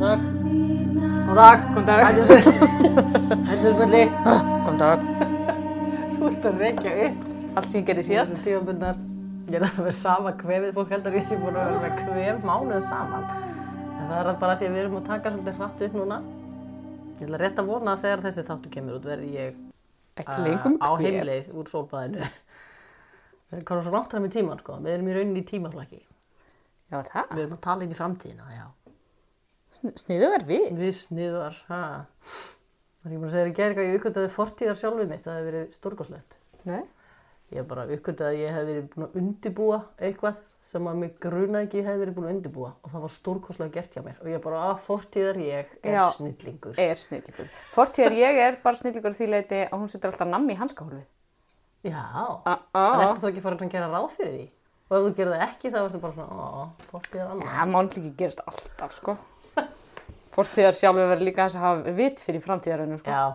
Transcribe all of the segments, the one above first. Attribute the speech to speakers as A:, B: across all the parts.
A: dag.
B: Góðan dag, góðan dag.
A: Hættursbulli.
B: Góðan dag.
A: Þú ert að reykja upp.
B: Allt sem ég gerði síðast.
A: Þessum tímabundar. Ég er alltaf með sama kvefið. Fólk heldur að ég sé búin að vera með kvef mánuð saman. En það er bara því að við erum að taka svolítið hratt upp núna. Ég ætla rétt að vona að þegar þessi þáttu kemur út verði ég uh,
B: Ekki lengum
A: á heimleið úr sólbæðinu. Það er konar svo langt fram í tíman sko. Við erum í rauninni í tímaflaki.
B: Já, var það?
A: Við erum að tala inn í framtíðina, já.
B: Sn- Sniðu var við.
A: Við sniðar, ha. Það er ég búin að segja þér í gerð hvað ég uppgöndaði fortíðar sjálfið mitt, það hefði verið stórgóðslegt.
B: Nei.
A: Ég hef bara uppgöndaði að ég hef verið búin að undibúa eitthvað sem að mig grunaði ekki ég hef verið búin að undibúa og það var stórgóðslega gert hjá mér og ég bara að fortíðar ég er
B: Já.
A: snillingur.
B: Er snillingur. Fortíðar ég er bara snillingur að því leiti að hún setur alltaf nammi í hanskahólfið.
A: Já,
B: Á, á.
A: en ertu þó ekki farin að gera ráð fyrir því? Og ef þú gerði það ekki þá ertu bara svona, ó, fortíðar
B: Já,
A: annað.
B: maður náttúrulega ekki gerast alltaf, sko. Fortíðar sjálfur verður líka þess að hafa vit fyrir framtíðarunum, sko.
A: Já,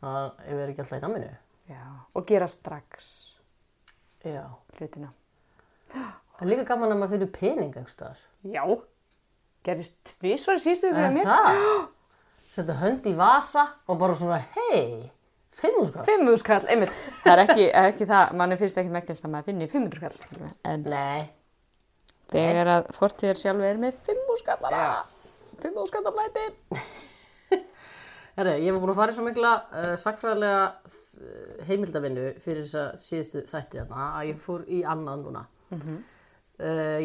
A: það er ekki alltaf í náminu.
B: Já. Og gera strax
A: Já,
B: hlutina.
A: það er líka gaman að maður fyrir pening einhverstaðar.
B: Já. Gerist tvísvar í síðustu ykkur
A: Er
B: að mér.
A: það? Settu hönd í vasa og bara svona, hei, fimmúskall.
B: Fimmuðskall, einmitt. Það er ekki, er ekki það, manni finnst ekki meggjöld að maður finni 500 kall, skiljum við. En
A: Nei,
B: Þegar að fortíðar sjálfi er með fimm úrskallara. Fimm úrskallarlæti.
A: herri, ég var búin að fara í svo mikla uh, sakfræðilega uh, heimildavinnu fyrir þess að síðustu þætti þarna að ég fór í annað núna. uh,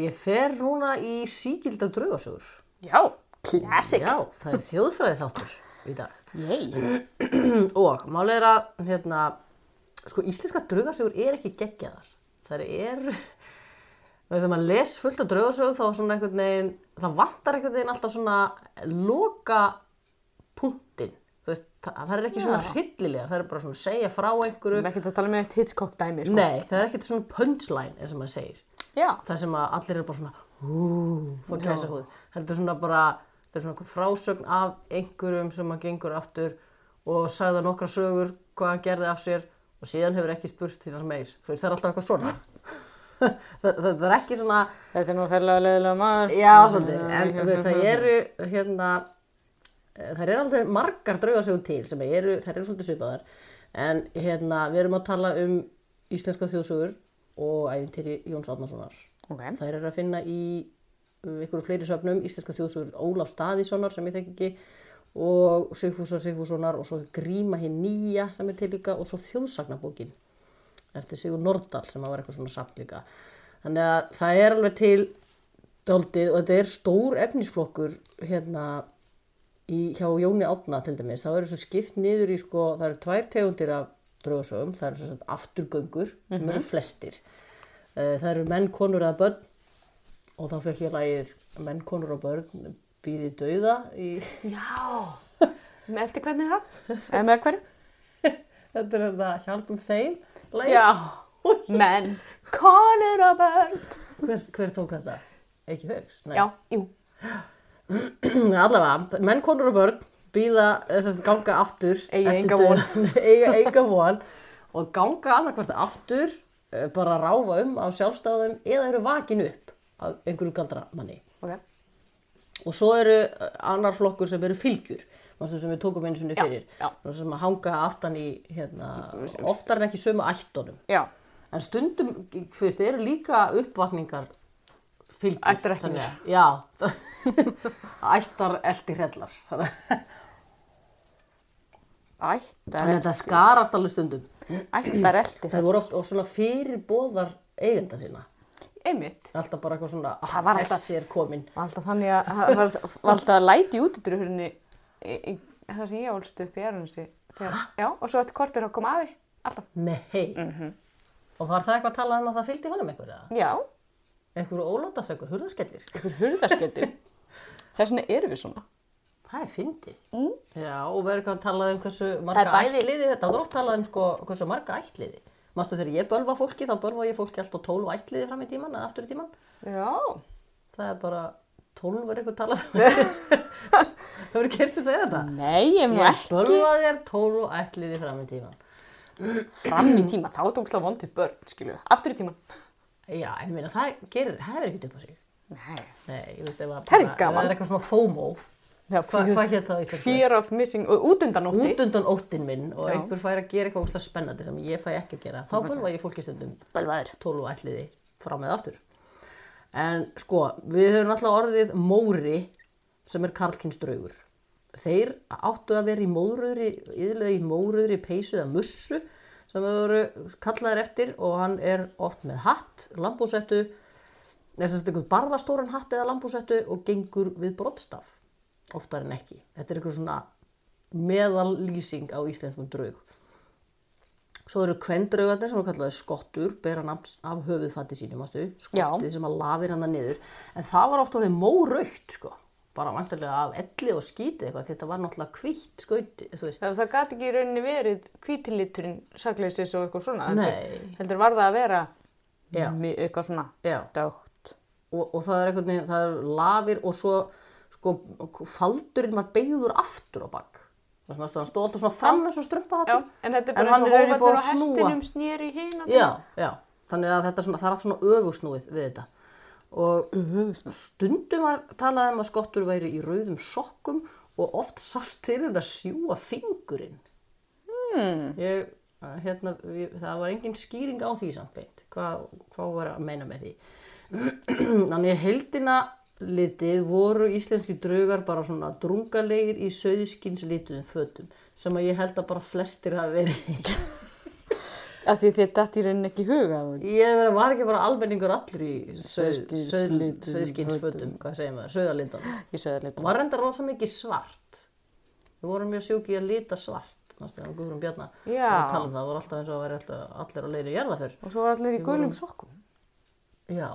A: ég fer núna í síkilda draugasögur.
B: Já, classic.
A: Já, það er þjóðfræði þáttur í dag.
B: Yey.
A: og málið er að, hérna, sko íslenska draugasögur er ekki geggjaðar. Það eru... þegar maður les fullt af draugasögum þá svona einhvern veginn, það vantar einhvern veginn alltaf svona loka punktin. Þú veist, það, það er ekki svona hryllilegar, það er bara svona að segja frá einhverju.
B: Við erum ekki að tala með eitt Hitchcock dæmi, sko.
A: Nei, það er ekkert svona punchline eins og maður segir.
B: Já.
A: Það sem að allir eru bara svona, úúú, fór kæsa húð. Það er svona bara, það er svona einhver frásögn af einhverjum sem að gengur aftur og sagði nokkra sögur hvað hann gerði af sér og síðan hefur ekki spurt til hans meir. Þú veist, það er alltaf eitthvað svona. það, það, það er ekki svona,
B: Þetta er nú færlega leðilega maður.
A: já, svolítið, en þú veist, það eru, hérna, eh, það eru alveg margar draugasögur til sem eru, það eru svolítið svipaðar, en hérna, við erum að tala um íslenska þjóðsögur og æfintýri Jóns Árnasonar.
B: Ok.
A: Þær eru að finna í uh, einhverju fleiri söfnum, Íslenska þjóðsugur Ólaf Staðíssonar sem ég þekki ekki og Sigfúsar Sigfússonar og svo Gríma hinn nýja sem er til líka og svo þjóðsagnabókin eftir Sigur Nordal sem að var eitthvað svona samt líka. Þannig að það er alveg til daldið og þetta er stór efnisflokkur hérna í, hjá Jóni Átna til dæmis. Það eru svo skipt niður í sko, það eru tvær tegundir af draugasögum, það eru svo sem afturgöngur sem eru flestir. Eh, Það eru menn, konur eða börn og þá fekk ég lagið menn, konur og börn býði dauða í...
B: Já. Með eftir hvernig það? Eða með hverju?
A: Þetta er þetta hjálpum þeim lagið.
B: Já. Menn. Konur og börn.
A: Hver, hver tók þetta? Ekki högst?
B: Já, jú.
A: Allavega, menn, konur og börn býða, þess að ganga aftur
B: Eiga
A: eftir
B: enga
A: dauðan- eiga enga von og ganga annarkvært aftur eh, bara ráfa um á sjálfstæðum eða eru vakin upp af einhverju galdramanni.
B: Ok.
A: og svo eru eh, annar flokkur sem eru fylgjur Manstu sem við tókum einu sinni
B: Já,
A: fyrir
B: já.
A: Manstu sem að hanga aftan í hérna, oftar en ekki sömu ættunum
B: Já.
A: en stundum, þú veist, eru líka uppvakningar fylgjur
B: Ættarækningar.
A: Þannig að- já, ættar eldi hrellar þannig að
B: Ættar,
A: þetta skarast alveg stundum
B: ættar eldi
A: það voru oft og svona fyrir bóðar eigenda sína
B: Einmitt.
A: alltaf bara eitthvað svona,
B: Það var
A: "Ah,
B: alltaf-
A: þessi er komin
B: Var Alltaf þannig að, það var, var alltaf að læti út í dröðurinni, það sem ég álst upp í erunsi. Já, og svo þetta kortur að koma afi, alltaf.
A: nei
B: Mhm.
A: og var það eitthvað að tala um að það fylgdi honum eitthvað eða?
B: Já,
A: einhverju ólótasökur, hurðaskellir
B: einhver hurðaskettir. Þess vegna erum við svona.
A: það er fyndið mm. já, og verður eitthvað að tala um hversu marga
B: bæði-
A: ætliði þetta, það er oft talað um sko, hversu marga ætliði Manstu þegar ég bölva fólki, þá bölva ég fólki alltaf 12 ætliði fram í tíman eða aftur í tíman
B: Já,
A: það er bara 12 er eitthvað talað sem hefur ekki hirt að segja þetta
B: nei, ég er nú
A: ég
B: ekki
A: bölva þér 12 ætliði fram í tíman
B: fram í tíma. Þá tókst það vondið börn, skilu. Aftur í tíma.
A: já, en minna, það gerir, hefur ekki upp á sig
C: Nei.
A: Nei, ég veist ef að
C: Það er
A: bara-
C: gaman.
A: ef Það er eitthvað svona FOMO.
C: Já,
A: Hva, hvað hétt það á íslensku?
C: Fear of missing, og út undan ótti.
A: Út undan óttin minn og
C: Já.
A: einhver fær að gera eitthvað óslega spennandi sem ég fæ ekki að gera. Þá bölva ég fólki stundum
C: Bölvaður.
A: 12 og ætliði fram með aftur. En sko, við höfum alltaf orðið móri sem er karlkynsdraugur. Þeir áttu að vera í móruðri, yðurlega í móruðri peysu eða mussu sem þau voru kallaðir eftir og hann er oft með hatt, lambúsettu, eða sem sagt einhvern barðastóran hatt eða lambúsettu og gengur við brottstaf, oftar en ekki. Þetta er einhver svona meðallýsing á íslenskum draug. Svo eru kvendraugarnir sem er kallaði skottur, bera nafn af höfuðfatti sínum, mástu, skottið sem að lafir hann niður. En það var oft orðið móraukt, sko, bara vantarlega af elli og skítið eitthvað, því þetta var náttúrulega kvitt skautið, þú veist.
C: Það, það gati ekki í rauninni verið kvítilíturinn, sakleysis og eitthvað svona. heldur-
A: Nei.
C: Heldur var það að vera
A: Já.
C: mi- eitthvað svona
A: Já,
C: dögt.
A: og, og það er einhvern veginn, það er lafir og svo, sko, faldurinn var beigður aftur á bak. Það sem að stóð- hann stóð alltaf svona fram eins og strumpa
C: Já, en þetta er bara eins
A: hann
C: og
A: er í búið
C: hófandur
A: að
C: á
A: snúa.
C: hestinum snýri hinn og
A: já, já. þannig að þetta er svona, það er allt svona öfusnúið við þetta og stundum var talað um að skottur væri í rauðum sokkum og oft sást til henn að sjúa fingurinn hmm. ég, að, hérna, ég, það var engin skýring á því samt beint hvað, hvað var að meina með því þannig að heldina litið voru íslenski draugar bara svona drungalegir í söðuskynslituðum fötum sem að ég held að bara flestir hafi verið
C: Af því þetta er í rauninni ekki hugað.
A: Ég meina, var ekki bara almenningur allir í
C: Sauðskins- litum,
A: söðskinsfötum, hvað segir maður, söðalindan.
C: Ég sagði þetta.
A: Var reyndar rosa mikið svart. Við vorum mjög sjúki að lita svart, mannstu, á Guðrum Bjarnar.
C: Já.
A: Tala um það, það voru alltaf eins og að vera alltaf, allir á leiru jarða fyrr.
C: Og svo var allir í gulum sokkum.
A: Já.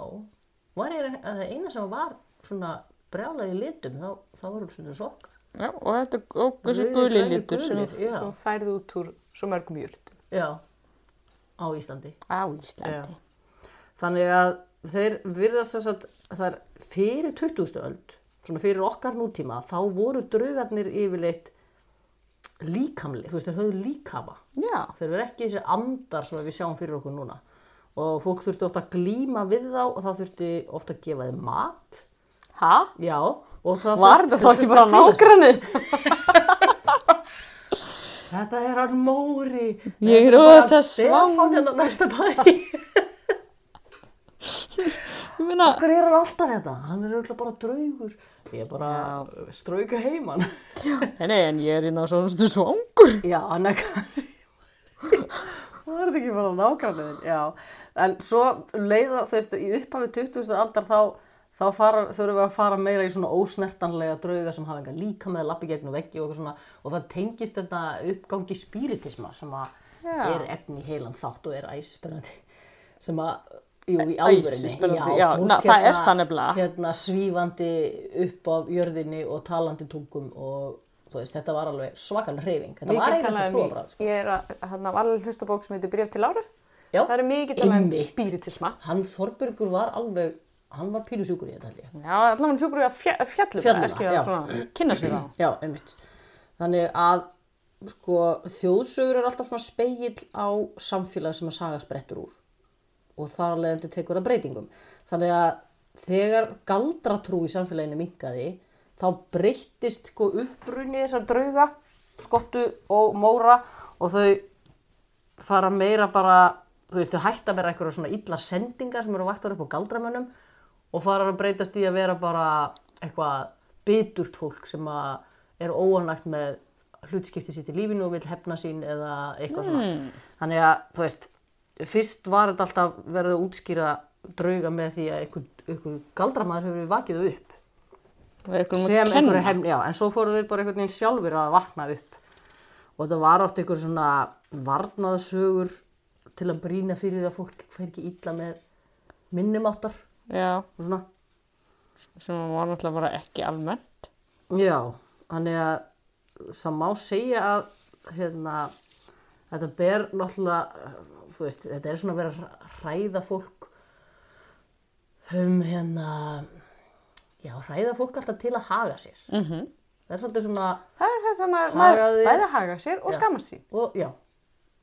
A: Var ég að það eina sem var svona brjálaði litum, þá, þá voru svona sokk.
B: Já, og þetta og þessi
A: Rauðir,
B: guli
A: grænir,
B: litur sem
A: gulir, já.
C: Svo færðu út úr svo mörgum júrtum.
A: Já. Á Íslandi.
B: á Íslandi.
A: Þannig að þeir virðast þess að það er fyrir 20. öld, svona fyrir okkar nútíma, þá voru draugarnir yfirleitt líkamli, þú veist, þeir höfðu líkama.
B: Já,
A: Þeir eru ekki þessi andar sem við sjáum fyrir okkur núna. Og fólk þurfti ofta að glíma við þá og það þurfti ofta að gefa þeim mat.
B: hæ?
A: Já, og það
B: Var þetta
A: þurfti- þeir
B: þá ekki
A: þurftu
B: bara
A: að hvíla sig.
B: nágrannir?
A: Þetta er hann Móri.
B: Ég er
A: Þetta bara
B: rosa
A: Stefán
B: svang.
A: hérna næsta bæ.
B: Ég meina,
A: Hver er hann alltaf þetta? Hann er auðvitað bara draugur. Ég er bara að strauka heiman.
B: nei, nei, en ég er inn á svonastu svangur.
A: Já, hann er kannski Það er þetta ekki bara nákvæmlegin, já En svo leiða, þú veist, í upphafi 20. aldar þá, þá fara, þurfum við að fara meira í svona ósnertanlega drauga sem hafa enga líka með lappi gegn og veggi og eitthvað svona og það tengist þetta uppgangi spiritisma sem að
B: Já.
A: er efni í heilan þátt og er æsspennandi sem að, jú, í
B: Æsispennandi,
A: alvörinni
B: já,
A: fólk
B: na- það er það nefnilega.
A: hérna svífandi upp á jörðinni og talandi tungum og þú veist, þetta var alveg svakal reyfing þetta var
C: Mikið
A: eiginlega
C: talað um
A: svo
C: í-
A: prófabráð sko.
C: Ég er að, þarna var alveg hlustabók sem heitir Bréf til Láru.
A: Já.
C: Það er mikið talað um
A: Einmitt.
C: spiritisma.
A: hann Þorbergur var alveg hann var pínu sjúkur í þetta held ég
B: Já, allavega sjúkur við að fjall, fjallum.
A: Fjalla,
B: það,
A: já.
B: já. Svona, kynna sér það.
A: já, einmitt þannig að sko, þjóðsögur er alltaf svona speigill á samfélag sem að saga sprettur úr og þar af leiðandi tekur það breytingum þannig að þegar galdratrú í samfélaginu minkaði þá breyttist sko upprunni þessar drauga skottu og móra og þau fara meira bara, þú veist, þau hætta að vera eitthvað svona illa sendingar sem eru vaktar upp á galdramönnum og fara að breytast í að vera bara eitthvað biturt fólk sem að er óanlagt með hlutskipti sitt í lífinu og vil hefna sín eða eitthvað svona. Þannig að, þú veist, fyrst var þetta alltaf verið að útskýra drauga með því að einhver, einhver galdramæður hefur vakið þau upp
B: Það er eitthvað um
A: sem
B: að kenna.
A: einhverju hefni, já, en svo fóru þeir bara einhvern veginn sjálfur að vakna upp og þetta var oft einhver svona varnaðsögur til að brýna fyrir að fólk fer ekki illa með minnumáttar og
B: Já,
A: svona,
B: sem var náttúrulega bara ekki almennt.
A: já, þannig að það má segja að hérna, þetta ber náttúrulega, þú veist, þetta er svona að vera að hræða fólk um hérna, já, hræða fólk alltaf til að haga sér. Mm -hmm. Það er svolítið svona
C: Það er þetta maður,
A: Haga
C: maður
A: þér.
C: bæði haga sér og skammast sín.
A: og já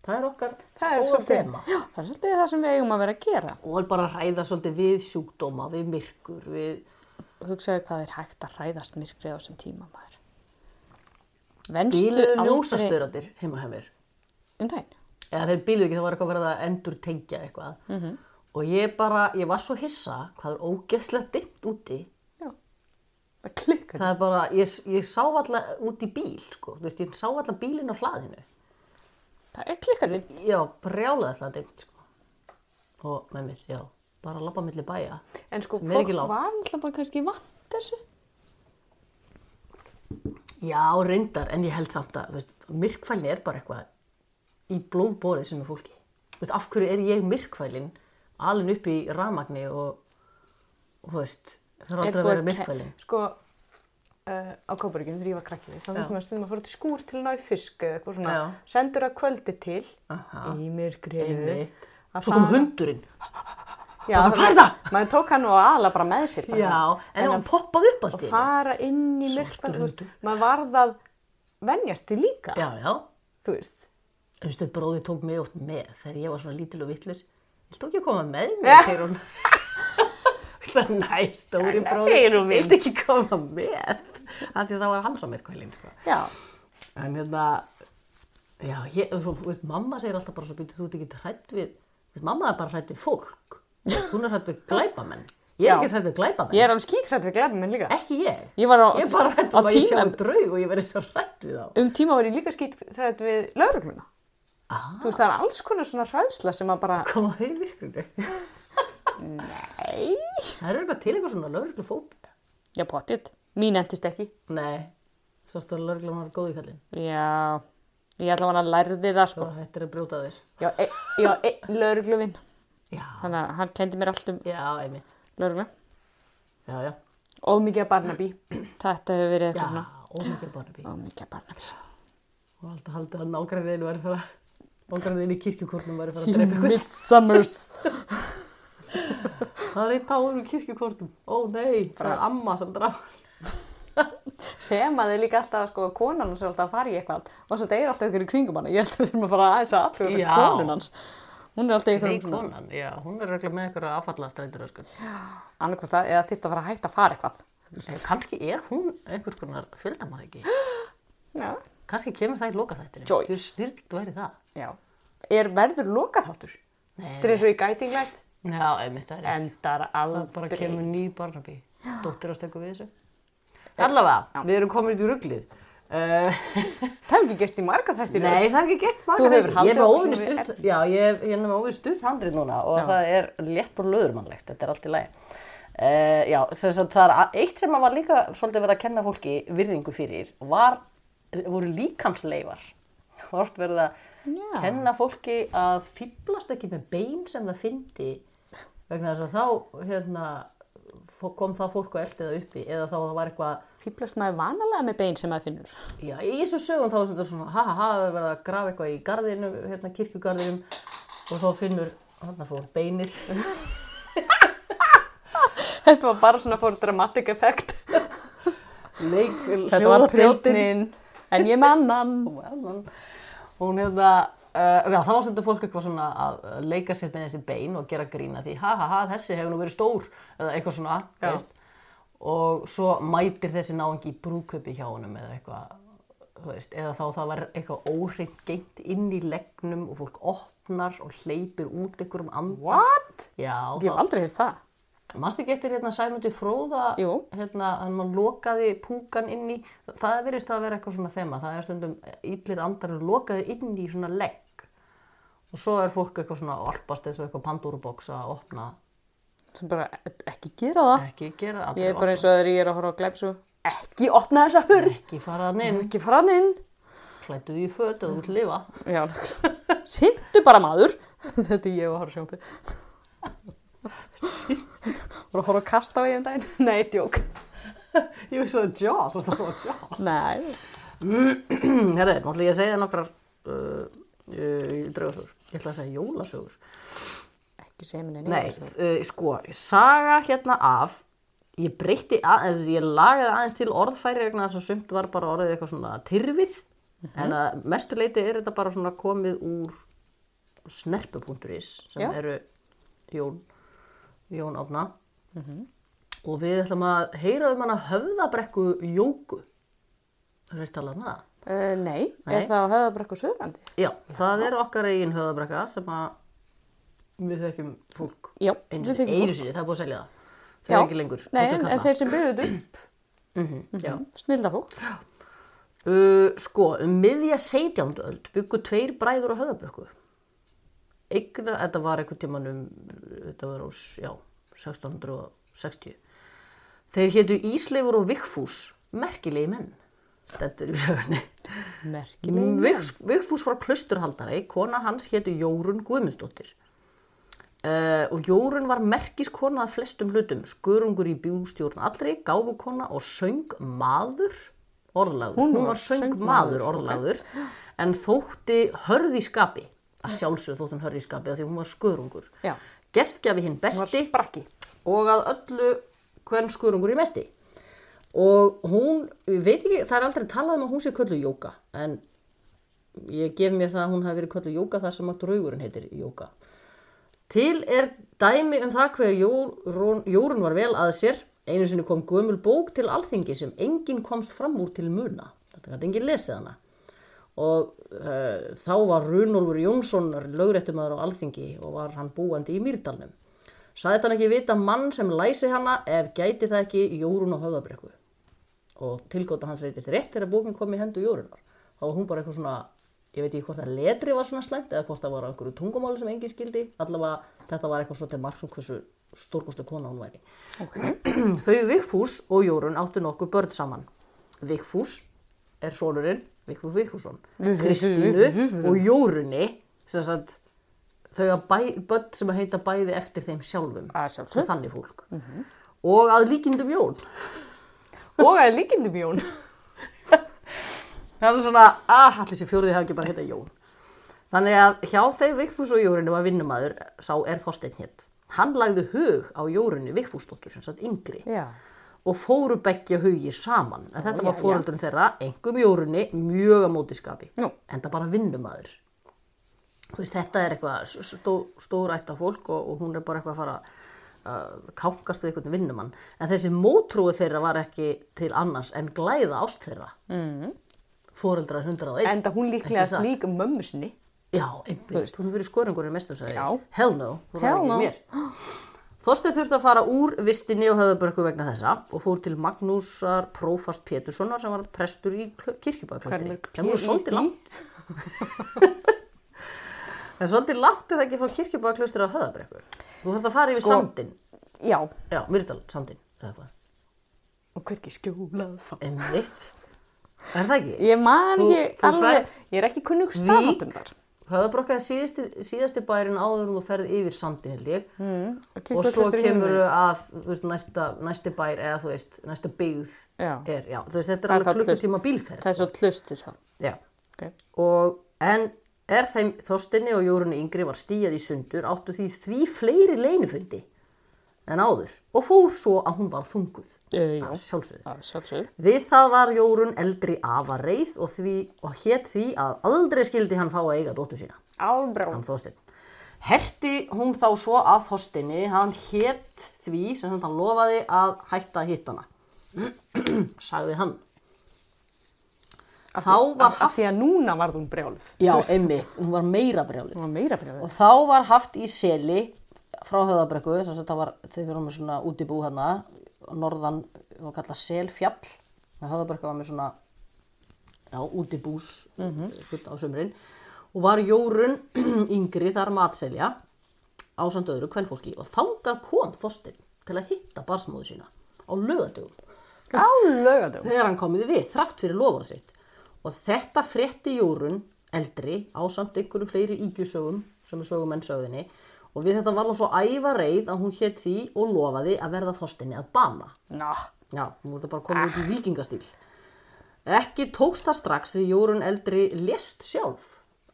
A: Það er okkar
C: Það er
A: góða
C: svolítið-
A: þema.
B: Já, það er svolítið það sem við eigum að vera að gera.
A: Og er bara að ræða svolítið við sjúkdóma, við myrkur, við...
B: Og hugsaðu hvað er hægt að ræðast myrkrið á þessum tíma maður. Venstu
A: Bíluðu
B: aldrei...
A: ljósastörandir heima hjá mér.
B: Um daginn.
A: Eða þeir bíluðu ekki, það var eitthvað verið að endur tengja eitthvað.
C: Mhm.
A: -hmm. Og ég bara, ég var svo hissa hvað er ógeðslega dimmt úti.
B: Já. Það klikkar.
A: Það er bara, ég, ég sá alltaf út í bíl, sko. Þú veist, ég sá alltaf bílinn á hlaðinu.
B: Það er klikkar.
A: Já, brjálaðislega dimmt, sko. Og með mitt, já, bara að labba milli bæja.
C: En sko,
A: Sem er
C: fólk
A: ekki lágt.
C: var alltaf bara kannski vant þessu.
A: Já, reyndar, en ég held samt að, þú veist, myrkfælni er bara eitthvað í blóðbórið sem er fólki. Þú veist, af hverju er ég myrkfælin, alin upp í ramagni og, og þú veist, það er aldrei að vera myrkfælin.
C: Sko, uh, á Kóparíkinu þegar ég var krakkið, þá þessum að stundum að fara til skúr til að ná í fisk eða eitthvað svona.
A: Já.
C: Sendur að kvöldi til
A: Aha.
C: í myrkrinu.
A: Einmitt.
C: Að
A: Svo kom
C: fara-
A: hundurinn.
C: Já,
A: hvað er það?
C: Maður tók hann og aðla bara með sér. bara.
A: Já, en
C: En
A: hann
C: að-
A: poppaði upp allt
C: Og
A: í einu.
C: fara inn í
A: Svartur
C: myrkrinu, þú veist,
A: hundur.
C: maður varð að venjast því líka,
A: Já, já.
C: þú veist.
A: Þú veist, þetta bróði tók mig oft með þegar ég var svona lítil og vittlis. Viltu ekki að koma með
C: Já.
A: mér, segir hún. Það er næst, stóri
C: Sæla,
A: bróði.
C: segir hún mín.
A: Viltu ekki koma með? Af því að það var hans á myrkfælin, sko.
C: Já.
A: En hérna, já, ég, svo, veist, mamma segir alltaf bara svo býtið þú ert ekki hrætt við, veist, mamma er bara hrætt við fólk. Þú veist, Hún er hrætt við glæpamenn. Ég
C: Já.
A: er ekki hrætt við glæpamenn.
B: Ég er alveg skýt.
C: Ítrætt við glæfum en líka.
A: Ekki ég.
B: Ég var á,
A: Eh, Ég er bara hrætt
B: á
A: um að ég sjá
B: tíma,
A: draug og ég verði svo hrætt við þá.
B: um tíma var ég líka skýt
C: Ítrætt við laurugluna.
A: Ah,
C: Þú veist, það er alls konar svona hræðsla sem að bara,
A: koma þau virkunni.
B: Nei,
A: Það eru eitthvað til eitthvað svona lögreglu fóbia.
B: já potið. Mín endist ekki.
A: Nei, svo stóra lögreglu var góð í kallin.
B: Já, ég ætla að lærði það sko.
A: Svo hættir að brjóta á þér.
B: Já, e, já e, laurugluvinn.
A: Já,
B: Þannig að hann kendi mér allt um
A: já, einmitt.
B: lauruglu.
A: Já, já.
C: ómikið að Barnaby.
B: Þetta hefur verið
A: Já,
B: eitthvað svona.
A: ómikið barnabí.
B: Ó, mikið barna.
A: Og alltaf haldið að nágræniðinu var að fara, nágræniðinu í kirkjukórnum var að fara að drepa ykkur.
B: Midsummers.
A: Það er einn táur úr kirkjukortum. Ó nei, það er amma sem draf.
C: Þemaði líka alltaf sko að konan hans er alltaf að fara í eitthvað og svo deyr alltaf ykkur í kringum hann. Ég held að við þurfum að fara aðeins að aðtöða
A: Já.
C: þetta konun hans. Hún er alltaf ykkur um svona
A: konan, já, hún er regla með einhverja affallastrætur. Sko.
C: annarkvæmt það eða þyrfti að fara að hætta að fara eitthvað.
A: Kanski er hún einhvers konar fjöldamað ekki.
C: Já.
A: Kanski kemur það í lokaþættinu.
B: Joyce.
A: Þú styrkt væri það.
C: Já. Er verður lokaþáttur?
A: Nei,
C: Þetta er eins og í gætinglætt.
A: já, einmitt það er.
C: Endar
A: Það bara
C: aldrei.
A: kemur ný barnabí. Dóttir að stekka við þessu. Allavega, við erum komin út í rugglið. Uh,
C: Það hefur ekki gerst í marga þættir.
A: nei, það er ekki gert margar
C: hefur
A: þættir.
C: haldið
A: Ég er með
C: okkur
A: óvinni
C: svona við
A: stutt, já, ég er, ég er með óvinni stutt handrið núna og það er létt og löðurmannlegt, þetta er allt í lagi. Uh, já, sem sagt, það er a- eitt sem að var líka svolítið verið að kenna fólki virðingu fyrir var, voru líkamsleifar. Það var oft verið að
B: Já.
A: kenna fólki að fýblast ekki með bein sem það fyndi vegna þess að þá hérna, fó- kom það fólk og eldi það uppi eða þá var eitthvað
B: Fýblast maður vanalega með bein sem maður finnur.
A: Já, í þessu sögum þá er þetta svona, ha ha ha, það er verið að grafa eitthvað í garðinum, hérna kirkjugarðinum og þá finnur, hann fór beinið.
C: Þetta var bara svona fór dramatic effect.
A: Leik,
B: Þetta var prjótnin, en ég með annan.
A: Hún hérna, uh, já þá var þetta fólk eitthvað svona að uh, leika sér með þessi bein og gera grína því, ha ha ha, þessi hefur nú verið stór, eða eitthvað svona,
C: Já.
A: veist. Og svo mætir þessi náingi í brúköpi hjá honum eða eitthvað, þú veist, eða þá það var eitthvað óhreint gengt inn í leggnum og fólk opnar og hleypir út einhverjum anda.
B: What?
A: Já,
B: Ég hef aldrei heyrt það.
A: Manstu ekki eftir hérna Sæmundi Fróða,
B: Jú.
A: hérna, hann maður lokaði púkan inn í, það verist að vera eitthvað svona þema, það er stundum illir andar eru lokaði inn í svona legg og svo er fólk eitthvað svona orpast eins og eitthvað pandúruboks að opna,
B: Sem bara ekki gera það.
A: ekki gera aldrei
B: Ég er bara
A: opna,
B: eins og þegar ég er að horfa á glæpsu. Ekki opna þessa hurð.
A: ekki fara þann inn,
B: Ekki fara hann inn.
A: klættu því í föt og þú vilt lifa.
B: Já, sindu bara maður. Þetta er ég að horfa sjónpið. Voru að horfa að kasta á ég um daginn? Nei, djók.
A: Ég veist að það er Jaws, það var Jaws.
B: Nei.
A: Herði, nú ætla ég að segja nokkrar uh, uh, draugasögur, ég ætla að segja jólasögur.
B: Ekki segja minni
A: Nei,
B: neitt.
A: uh, sko, saga hérna af, ég breytti, að, eða ég lagaði aðeins til orðfæri vegna þess að sumt var bara orðið eitthvað svona tyrfið, en að mestu leiti er þetta bara svona komið úr snerpu.is sem
B: Já.
A: eru Jón, Jón Átna og við ætlum að heyra um hana höfðabrekku jóku. Það er eitt talað um það.
B: Uh, nei,
A: Nei.
B: er það á höfðabrekku Suðurlandi?
A: Já, það er okkar eigin höfðabrekka sem að við þekkjum fólk
B: Já,
A: einu
B: við
A: sinni,
B: þekkjum
A: einu sinni, það er búið að selja það. Það er ekki lengur.
B: Nei, en, en þeir sem byggðu þetta upp, Mhm,
C: Mhm,
A: þeir... Já.
B: snilda fólk.
A: Uh, sko, um miðja 17. öld byggu tveir bræður á höfðabrökku. Eigna, þetta var einhvern tíman um, þetta var á, s- já, 1660. Þeir hétu Ísleifur og Vigfús, merkilegi menn, stendur í sögunni.
B: Merkilegt.
A: Vigf, Vigfús var klusturhaldari, kona hans hétu Jórun Guðmundsdóttir. Uh, og Jórun var merkiskona að flestum hlutum, skurungur í bjústjórn allri, gáfukona og söng maður orðlagður. Hún,
B: var
A: var söng
B: söngmaður,
A: maður orðlagður, en þótti hörð í skapi, að sjálfsögðu þótti hún hörð í skapi af því hún var skurungur.
B: Já.
A: Gestgjafi hinn
C: Hún var
A: besti
C: sprakki.
A: og að öllu hvern skurungur í mesti. Og hún, ég veit ekki, það er aldrei talað um að hún sé köllu jóka, en ég gef mér það að hún hafi verið köllu jóka þar sem að draugurinn heitir jóka. Til er dæmi um það hver Jórun, Jórun var vel að sér. Einu sinni kom gömul bók til alþingi sem enginn komst fram úr til muna. Þetta gæti enginn lesið hana. Og uh, þá var Runolfur Jónsson lögréttumæður á alþingi og var hann búandi í Mýrdalnum. Saðist hann ekki vita mann sem læsi hana ef gæti það ekki Jórun á höfðabrekku. Og tilgóta hans reytist rétt þegar bókin kom í hendu Jórunar. Þá var hún bara eitthvað svona, ég veit ekki hvort að letri var svona slæmt eða hvort það var á einhverju tungumáli sem enginn skildi. Allavega þetta var eitthvað svo til margsum hversu stórkostu kona hún væri.
C: Mhm.
A: Þau Vigfús og Jórun áttu nokkuð börn saman. Vigfús er sonurinn, Vigfús Vigfússon, Kristínu og Jórunni, sem sagt, þau að bæ, börn sem að heita bæði eftir þeim sjálfum.
B: Að sjálfsögðu.
A: Þannig fólk. Og að líkindum Jón.
C: Og að líkindum Jón.
A: Það er svona, ah, að allir sér fjóruði hafi ekki bara heita Jón. Þannig að hjá þeir Vigfús og Jórunni var vinnumadur, sá er Þorsteinn hétt. Hann lagði hug á Jórunni Vigfúsdóttur, sem sagt yngri,
B: Já.
A: og fóru beggja hugir saman. En þetta var fóröldrun þeirra, engum Jórunni, mjög að mótiskapi.
B: Nú.
A: En það bara vinnumadur. Þú veist, þetta er eitthvað s- stó, stórætt af fólk og, og hún er bara eitthvað að fara að uh, kákast við einhvern vinnumann. En þessi mótrúi þeirra var ekki til annars en glæða ást þeirra. Mm. Fóreldrar 101.
C: Enda hún líklegast
A: Ekki satt.
C: líka mömmu sinni.
A: Já, einmitt. Hún fyrir skorungurinn mestum sagði.
C: Já.
A: ég. Hell no. Þú ræður
B: Hell
A: ekki
B: no.
A: Mér. Þorstein þurfti að fara úr vistinni og höfðabörku vegna þessa og fór til Magnúsar Prófast Péturssonar sem var prestur í kirkjubæðklostri.
C: Hvernig er
A: Það voru
C: P.I.D.?
A: svolítið langt. það er svolítið langt er það ekki frá kirkjubæðklostri að höfðabrekku. Þú þarf að fara yfir sandin.
B: Já.
A: Já, Myrdal, sandin. eða eitthvað.
C: Og hverki skjólað þá.
A: Einmitt. Er það ekki?
B: Ég man
A: Þú-
B: ekki
A: þú
B: alveg.
A: ferð-
C: Ég er ekki kunnug stafatum þar.
A: Höfðabrokka er síðasti, síðasti bærin áður en þú ferð yfir sandin held ég. Mm,
B: og
A: og svo
B: Kirkjufells er í
A: kemur að þú veist, næsta, næsti bær eða þú veist, næsta byggð
B: Já.
A: er, já, þú veist, þetta
B: Það er
A: er
B: þá
A: alveg klukkutíma bílferð.
B: Það er svo tlustur þá.
A: Já.
B: Okay.
A: Og, en er þeim Þorstinni og Jórunni yngri var stíjað í sundur áttu því því fleiri leinufundi en áður og fór svo að hún var þunguð.
B: Uh, já.
A: Að Sjálfsögðu.
B: Að sjálfsögðu.
A: Við það var Jórun eldri afareið og, því, og hét því að aldrei skildi hann fá að eiga dóttu sína.
C: Álbrá.
A: hann Þorsteinn. Herti hún þá svo að Þorstinni, hann hétt því sem hann lofaði að hætta að hitta hana. Sagði hann. Þá var
C: Af því að núna varð hún brjáluð.
A: Já, einmitt, hún var meira brjálið.
B: Það var meira brjóðið.
A: Og þá var haft í seli frá höðabrekku, þess að það var, þau fyrir með svona útibú hana, norðan, það var kallað selfjall, en höðabrekku var með svona, já, útibús, mm á sömurinn, og var Jórun yngri þar matselja á samt öðru kvennfólki og þangað kom Þorsteinn til að hitta barsmóðu sína á lögatugum
C: Á lögadum.
A: þegar hann komið við, þrátt fyrir lofað sitt. Og þetta frétti Jórun eldri á samt einhverjum fleiri ígjusögum sem er sögum enn sögðinni og við þetta var hún svo æfa reið að hún hétt því og lofaði að verða þorstinni að bana.
B: Ná.
A: Já, hún voru bara komið út í vikingastíl. Ekki tókst það strax því Jórun eldri lest sjálf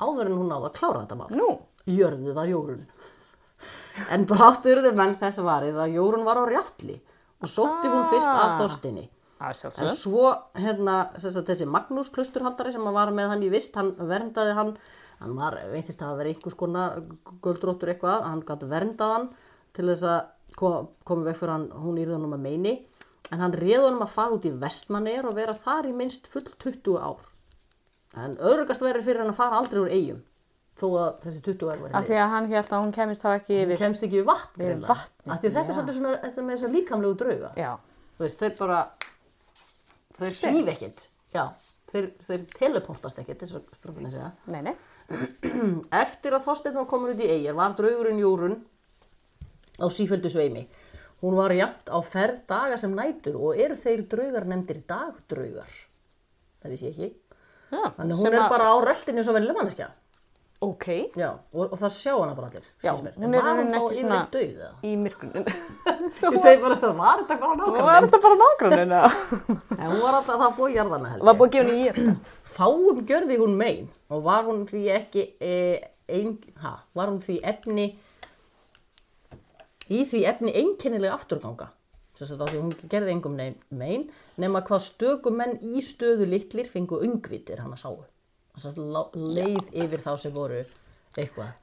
A: áður en hún náði að klára þetta mál
C: Nú.
A: jörðu það Jórun. En brátt urðu menn þess varið að Jórun var á rjalli og sótti hún fyrst að þorstinni.
B: að
A: En
B: sjálfsög.
A: svo hérna sem sagt, þessi Magnús klusturhaldari sem var með hann í vist, hann verndaði hann, hann var, veitist að það vera einhvers konar guldróttur eitthvað, hann gæti verndað hann til þess að kom, komið veg fyrir hann, hún yrði hann um að meini, en hann réði hann um að fara út í vestmanneir og vera þar í minnst full 20 ár. En öðrugast verið fyrir hann að fara aldrei úr eigum, þó að þessi 20 ár var
B: Af því að hann held að hún kemist þá ekki
A: Hún
B: yfir.
A: kemst ekki við vatn,
B: Við
A: greinilega.
B: vatnið,
A: Af því þetta
B: já.
A: er svolítið svona, þetta með þess að líkamlegu drauga
B: Já,
A: þú veist, þeir bara þeir svíf ekkert já, þeir, þeir teleportast ekkert eins og strófin að segja
B: nei, nei.
A: eftir að Þorsteinn var komin út í eigir var draugurinn Jórun á síföldu sveimi hún var jafnt á ferð daga sem nætur og eru þeir draugar nefndir dagdraugar það vissi ég ekki
B: Já,
A: þannig að
B: sem
A: hún er
B: að-
A: bara á röldinni svo velum manneskja
C: Ok.
A: já, og, og það sjá hana bara allir
B: Já,
A: skilst mér.
B: hún
A: En
B: er í
A: var
B: rauninni
A: þá
B: ekki
A: yfirleitt
B: svona-
A: dauð eða?
C: Í myrkunin.
A: ég segi bara svo, var þetta bara
C: Var
A: nákvæmlega
C: þetta bara nágrannin eða?
A: en hún var alltaf, það var búið í jarðana held ég.
C: Var búið að gefa henni í þetta?
A: Fáum gjörði hún mein og var hún því ekki e, ein, ha, var hún því efni í því efni einkennilega afturganga þess að því hún gerði engum nein, mein nema hvað stökum menn í stöðu litlir fengu ungvitir hann að sáu þess að lá- leið yfir þá sem voru eitthvað tæpir.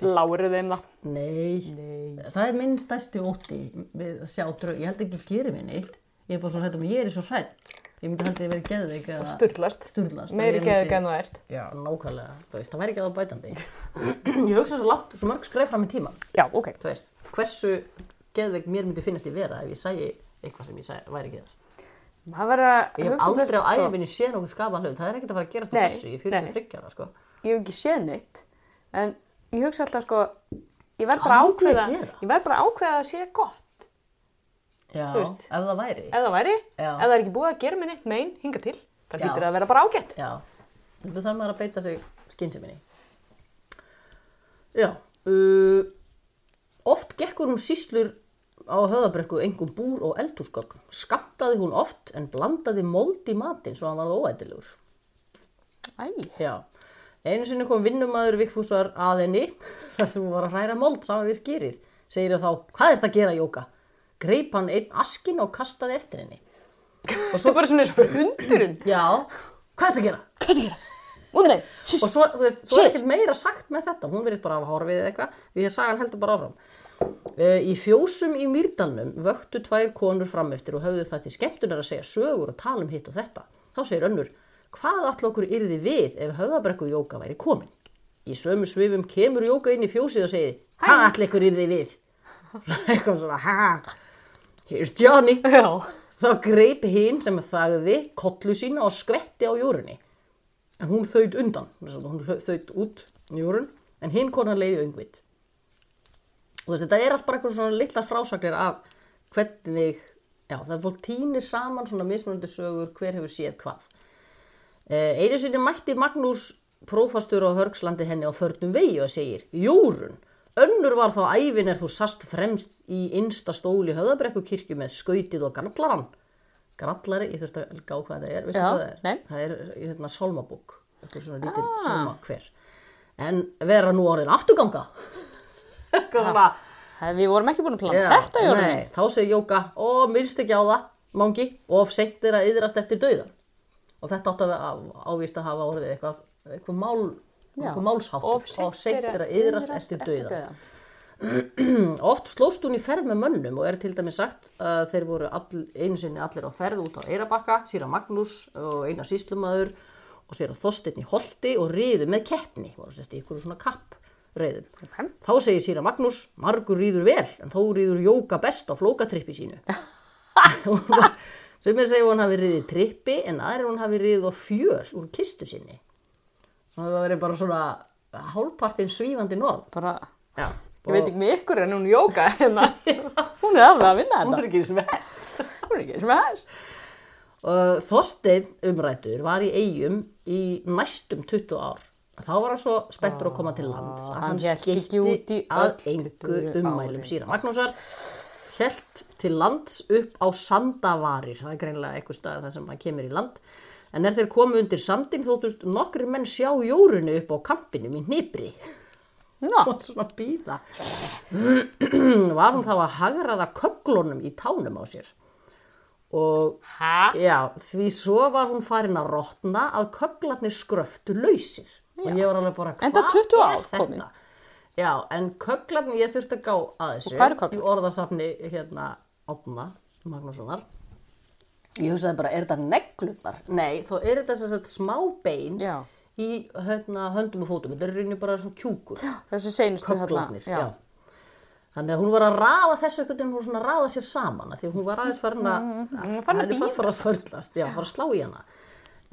C: Láru þeim það.
A: Nei. það er minn stærsti ótti við að sjá draug, ég held ekki að gera mér neitt ég er bara svo hrætt um, ég er í svo hrætt ég myndi held ég verið geðveik eða
C: Sturlast.
A: sturlast
C: Meiri
A: Ég myndi-
C: geðu geðu þú ert.
A: Já, nákvæmlega, þú veist, það væri ekki að það bætandi. ég hugsa svo látt, svo mörg skræf fram í tíman,
C: Já, ok.
A: þú veist, hversu geðveik mér myndi finnast ég vera ef ég sæi eitthvað sem ég sæ, væri ekki þar.
C: Maður verður að
A: Ég hef
C: hugsa um
A: aldrei á
C: sko.
A: æfinni séð nokkuð skapa hlut, það er ekkert að fara að gerast á
C: Nei,
A: þessu, ég er
C: nei.
A: 43 ára, sko.
B: ég hef ekki séð neitt en ég hugsa alltaf sko ég verð
A: Hvað
C: bara
A: myndi ég
C: ákveða,
A: gera?
C: ég verð bara að ákveða að það sé gott
A: Já,
C: Þú veist.
A: ef það væri.
C: ef það væri,
A: Já.
C: ef það er ekki búið að gera mér neitt mein hinga til, það
A: Já.
C: hlýtur að vera bara ágætt
A: Já, þú þarf maður að beita sig skynnseminni. Já, uh, oft gekkur hún síslur á höðabrekku engum búr og eldhúsgögn. Skamtaði hún oft en blandaði mold í matinn svo hann varð óætilegur.
B: Æ,
A: Já, einu sinni kom vinnumæður vikfúsar að henni þar sem hún var að hræra mold saman við skýrið. Segir þá, hvað er þetta að gera, Jóka? Greip hann einn askin og kastaði eftir henni.
C: og svo bara svona eins og hundurinn
A: Já, hvað er þetta að gera?
B: hvað er það að gera? Ó nei,
A: og svo, þú veist, svo er ekkert meira sagt með þetta hún verðist bara að hafa horfið eða eitthvað því að sagan heldur bara áfram Eh, Í fjósum í Mýrdalnum vöktu tvær konur framöftir og höfðu það til skemmtunar að segja sögur og tala um hitt og þetta. Þá segir önnur, hvað all okkur yrði við ef höfðabrekku jóka væri komin? Í sömu svifum kemur jóka inn í fjósið og segir, hvað all okkur yrði við? Eitthvað svona, ha, here's Johnny.
C: já,
A: Þá greip hinn sem þagði kollu sína og skvetti á jórunni. En hún þaut undan, sem sagt, hún þaut út jórun, en hinn konan leiði öngvit. Og þessi, þetta er allt bara eitthvað svona litlar frásagnir af hvernig, já, það er fólk týnir saman svona mismunandi sögur hver hefur séð hvað. Eh, Einu sinni mætti Magnús prófastur á Hörgslandi henni á förnum vegi og segir Jórun, önnur var þá ævin er þú sast fremst í innsta stóli höðabrekku kirkju með skautið og grallarann. Grallari, ég þurfti að gá hvað það er, veistu
B: Já,
A: hvað það er?
B: nei.
A: Það er hérna sálmabók, eitthvað svona lítil ah. sálma hver. En vera nú orðin afturganga. Eitthvað svona.
B: það- við vorum ekki búin að plana
A: Já,
B: þetta Jórun
A: Nei, þá segir Jóka, ó, minnst ekki á það, mangi, of seint er að yðrast eftir dauðan. Og þetta átti að vera- ávist að hafa orðið eitthvað, eitthvað, mál, eitthvað málsháttur.
C: Of seint er
A: er
C: að
A: að yðrast eftir dauðan. Oft slóst hún í ferð með mönnum og er til dæmis sagt að þeir voru all, einu sinni allir á ferð út á Eirabakka, síra Magnús og eina síslumadur og síra Þorsteinn í Holti og riðu með keppni, voru sérst í ykkur svona kapp reyðum.
B: Ok.
A: Þá segir síra Magnús, margur rýður vel en þó rýður Jóka best á flókatrippi sínu. Sem er segja hún hafi rýðið trippi en aðrir hún hafi rýðið á fjöl úr kistu sinni. Og það verið bara svona hálfpartinn svífandi norð.
B: bara,
A: Já.
B: ég veit ekki með ykkur en hún Jóka hérna, hún er alveg að vinna
A: Hún
B: þetta
A: er ekki eins og vest.
B: hún er ekki sem þess
A: Uh, Þorsteinn umrættur var í eigum í næstum 20 ár. Þá var hann svo spenntur að koma til lands að
B: Ah,
A: hann
B: hann hélt ekki
A: skilti
B: út í
A: að
B: öll
A: engu
B: 20
A: ummælum
B: árin.
A: síra Magnúsar. Helt til lands upp á sandavarir, það er greinlega einhver staðar þar sem hann kemur í land. En er þeir komu undir sandin þóttust nokkri menn sjá jórunu upp á kampinum í hnibri.
B: Ná,
A: Og svona býða. var hún þá að hagraða köglunum í tánum á sér. og
C: Hæ?
A: já, því svo var hún farin að rotna að köglarnir skröftu lausir og ég var alveg bara, hvað
B: Enda 20 ár
A: er
B: komin.
A: þetta? Já, en köglarnir, ég þurfti að gá að þessu
B: hvað eru köglar?
A: í orðasafni hérna Átna Magnússonar Ég hugsaði bara, er þetta neglunar? Nei, þá er þetta sem sagt smá bein
B: Já.
A: í hérna, höndum og fótum, þetta er í rauninni bara svona kjúkur
B: Þessi seinustu
A: köglarnir,
B: já.
A: já. Þannig að hún var að raða þessu einhvern veginn, hún var svona að raða sér saman, af því að hún var aðeins farin að,
C: hún var farin að
A: henni
C: bíða.
A: fara að förlast, já, fara að slá í hana.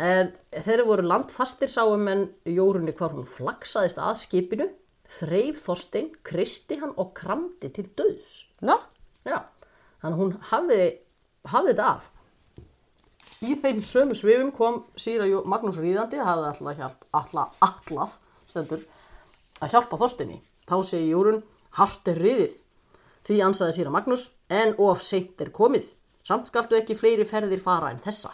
A: En þeir voru landfastir sáum en jórunni hvar hún flaksaðist að skipinu, þreif Þorstein, kristi hann og kramdi til döðs.
B: Nó,
A: Já, þannig að hún hafði, hafði þetta af. Í þeim sömu svifum kom síra Jó- Magnús Ríðandi, hafði alltaf hjálp, alltaf, alltaf, stendur, að hjálpa Þorstinni. Þá segi Jórun, hart er riðið. Því ansaði síra Magnús, en of seint er komið. Samt skaltu ekki fleiri ferðir fara en þessa.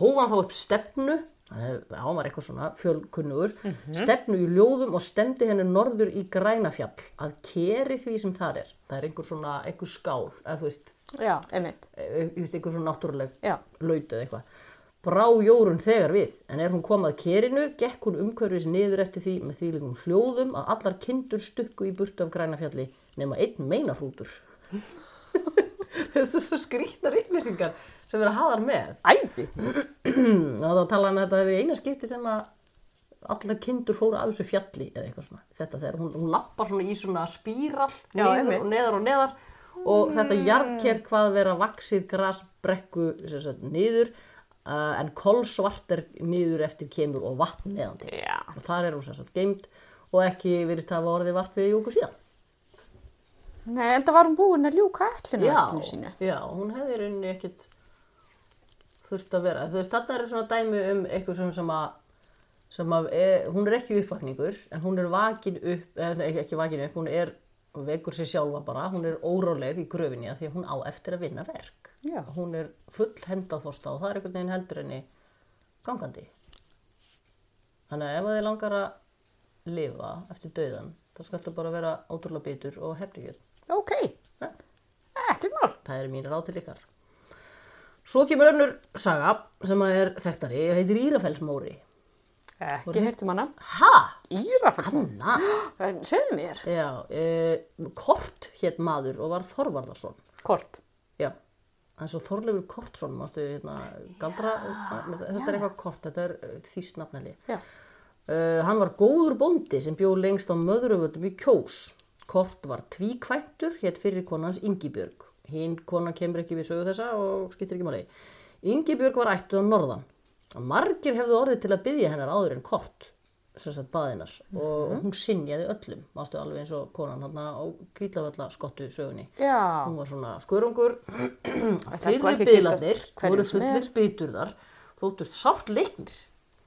A: Hóf hann þá upp stefnu, hann hann var eitthvað svona fjölkunnugur, stefnu í ljóðum og stemdi henni norður í grænafjall að keri því sem þar er. Það er einhver svona, einhver skál, eða þú veist,
B: já, einmitt.
A: eh, ég veist, einhver svona náttúruleg
B: Já.
A: laut eða eitthvað. Brá Jórun þegar við, en er hún komað kerinu, gekk hún umhverfis niður eftir því með þýlingum hljóðum að allar kindur stukku í burtu af grænafjalli nema einn meinarhrútur. Þetta er svo skrýtnar yfirlýsingar sem eru að hafa hann með.
B: Æfi.
A: Og þá talaði hann um að þetta hefur eina skipti sem að allar kindur fóru af þessu fjalli eða eitthvað svona. Þetta þegar hún, hún lappar svona í svona spíral
C: Já,
A: niður
C: einmitt.
A: og neðar og neðar og þetta jarðker hvað vera vaksið grasbrekku sem sagt, niður uh, en kolsvart er niður eftir kemur og vatn neðan til.
C: Já.
A: Og þar er hún sem sagt geimd og ekki virðist hafa orðið vart við júku síðan.
B: Nei, enda var hún búin að ljúka ætlinu
A: já,
B: sínu.
A: já, hún hefði í rauninni ekkit þurft að vera. Þú veist, þarna er svona dæmi um eitthvað sem, sem að, sem að e, hún er ekki uppvakningur, en hún er vakin upp, eða ekki, ekki vakin upp, hún er hún vekur sér sjálfa bara, hún er óróleg í gröfinni af því að hún á eftir að vinna verk.
B: Já.
A: Hún er full hendáþorsta og það er einhvern veginn heldur henni gangandi. Þannig að ef að þið langar að lifa eftir dauðan, þá skaltu bara vera ótrúlega bitur og hefningjöld.
B: Ok,
A: Ja.
B: ekkert mál.
A: Það eru mín ráð til ykkar. Svo kemur önnur saga sem að er þekktari og heitir Írafellsmóri.
B: Ekki heyrt um hana.
A: Ha?
B: Írafell.
A: Na?
B: Segðu mér.
A: Já, e, Kort hétt maður og var Þorvarðarsson.
C: Kort.
A: Já, það er svo Þorleifur Kortsson, mástu hérna galdra, þetta er eitthvað kort, þetta er eh, þýstnafneli.
B: Já.
A: Uh, hann var góður bóndi sem bjó lengst á möðruvöldum í Kjós. Kort var tvíkvæntur, hétt fyrir konans Ingibjörg. Hinn konan kemur ekki við sögu þessa og skiptir ekki máli. Ingibjörg var ættuð á norðan. Margir hefðu orðið til að byggja hennar áður en kort, sem sagt baðinnar.
B: Mhm.
A: Og hún sinjaði öllum, mástu alveg eins og konan hann á kvílafalla skottu sögunni.
B: Já.
A: Hún var svona skörungur,
B: er sko
A: fyrir
B: ekki að
A: byðlanir
B: giftast hverjum
A: voru
B: sem er.
A: fullir byturðar, þóttust sátt leiknir.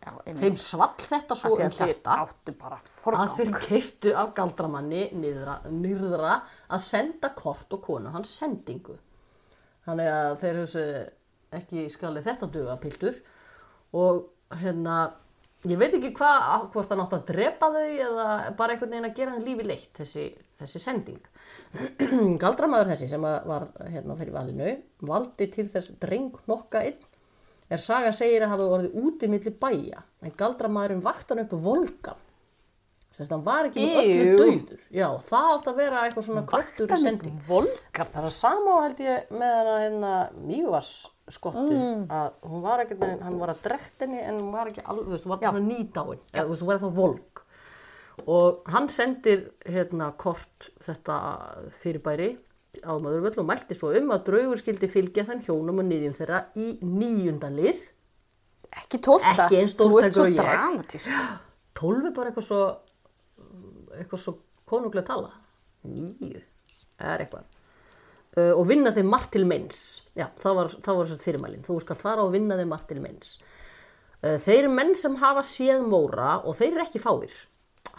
B: Já, einmitt.
A: Þeim svall þetta svo um hjarta
B: áttu bara
A: að
B: forgang.
A: þeir keiftu af galdramanni nýðra, nýðra að senda kort og konu hans sendingu. Þannig að þeir hugsu ekki skali þetta duga piltur og hérna, ég veit ekki hvað, hvort hann átti að drepa þau eða bara einhvern veginn að gera hann lífi leitt, þessi, þessi sending. Galdramæður þessi sem að var hérna fyrir valinu valdi til þess dreng nokka einn er saga segir að hafa orðið úti milli bæja en galdramæðurinn vakti hann upp volgan. Þess að hann var ekki með öllu
C: Ew.
A: dauður. Já, það átti að vera eitthvað svona kröktur í sending.
C: Volgar.
A: Það var sama held ég með hana hérna Mívas skottu að hún var ekkert, hann var að drekt henni en hún var ekki alveg, þú veist, hún var svona nýdáin eða þú veist, hún var þá volk og hann sendir hérna kort þetta fyrirbæri á maðurvöld og mælti svo um að draugur skildi fylgja þeim hjónum og niðjum þeirra í níunda lið
B: Ekki tólta.
A: Ekki eins
B: Þú ert
A: stórtækur
B: svo
A: og ég.
B: dramatísk.
A: 12 er bara eitthvað svo eitthvað svo konunglega tala 9 er eitthvað uh, og vinna þeim margt til meins já, það var, það var svo fyrirmælin þú skalt fara og vinna þeim margt til meins uh, þeir menn sem hafa séð Móra og þeir eru ekki fáir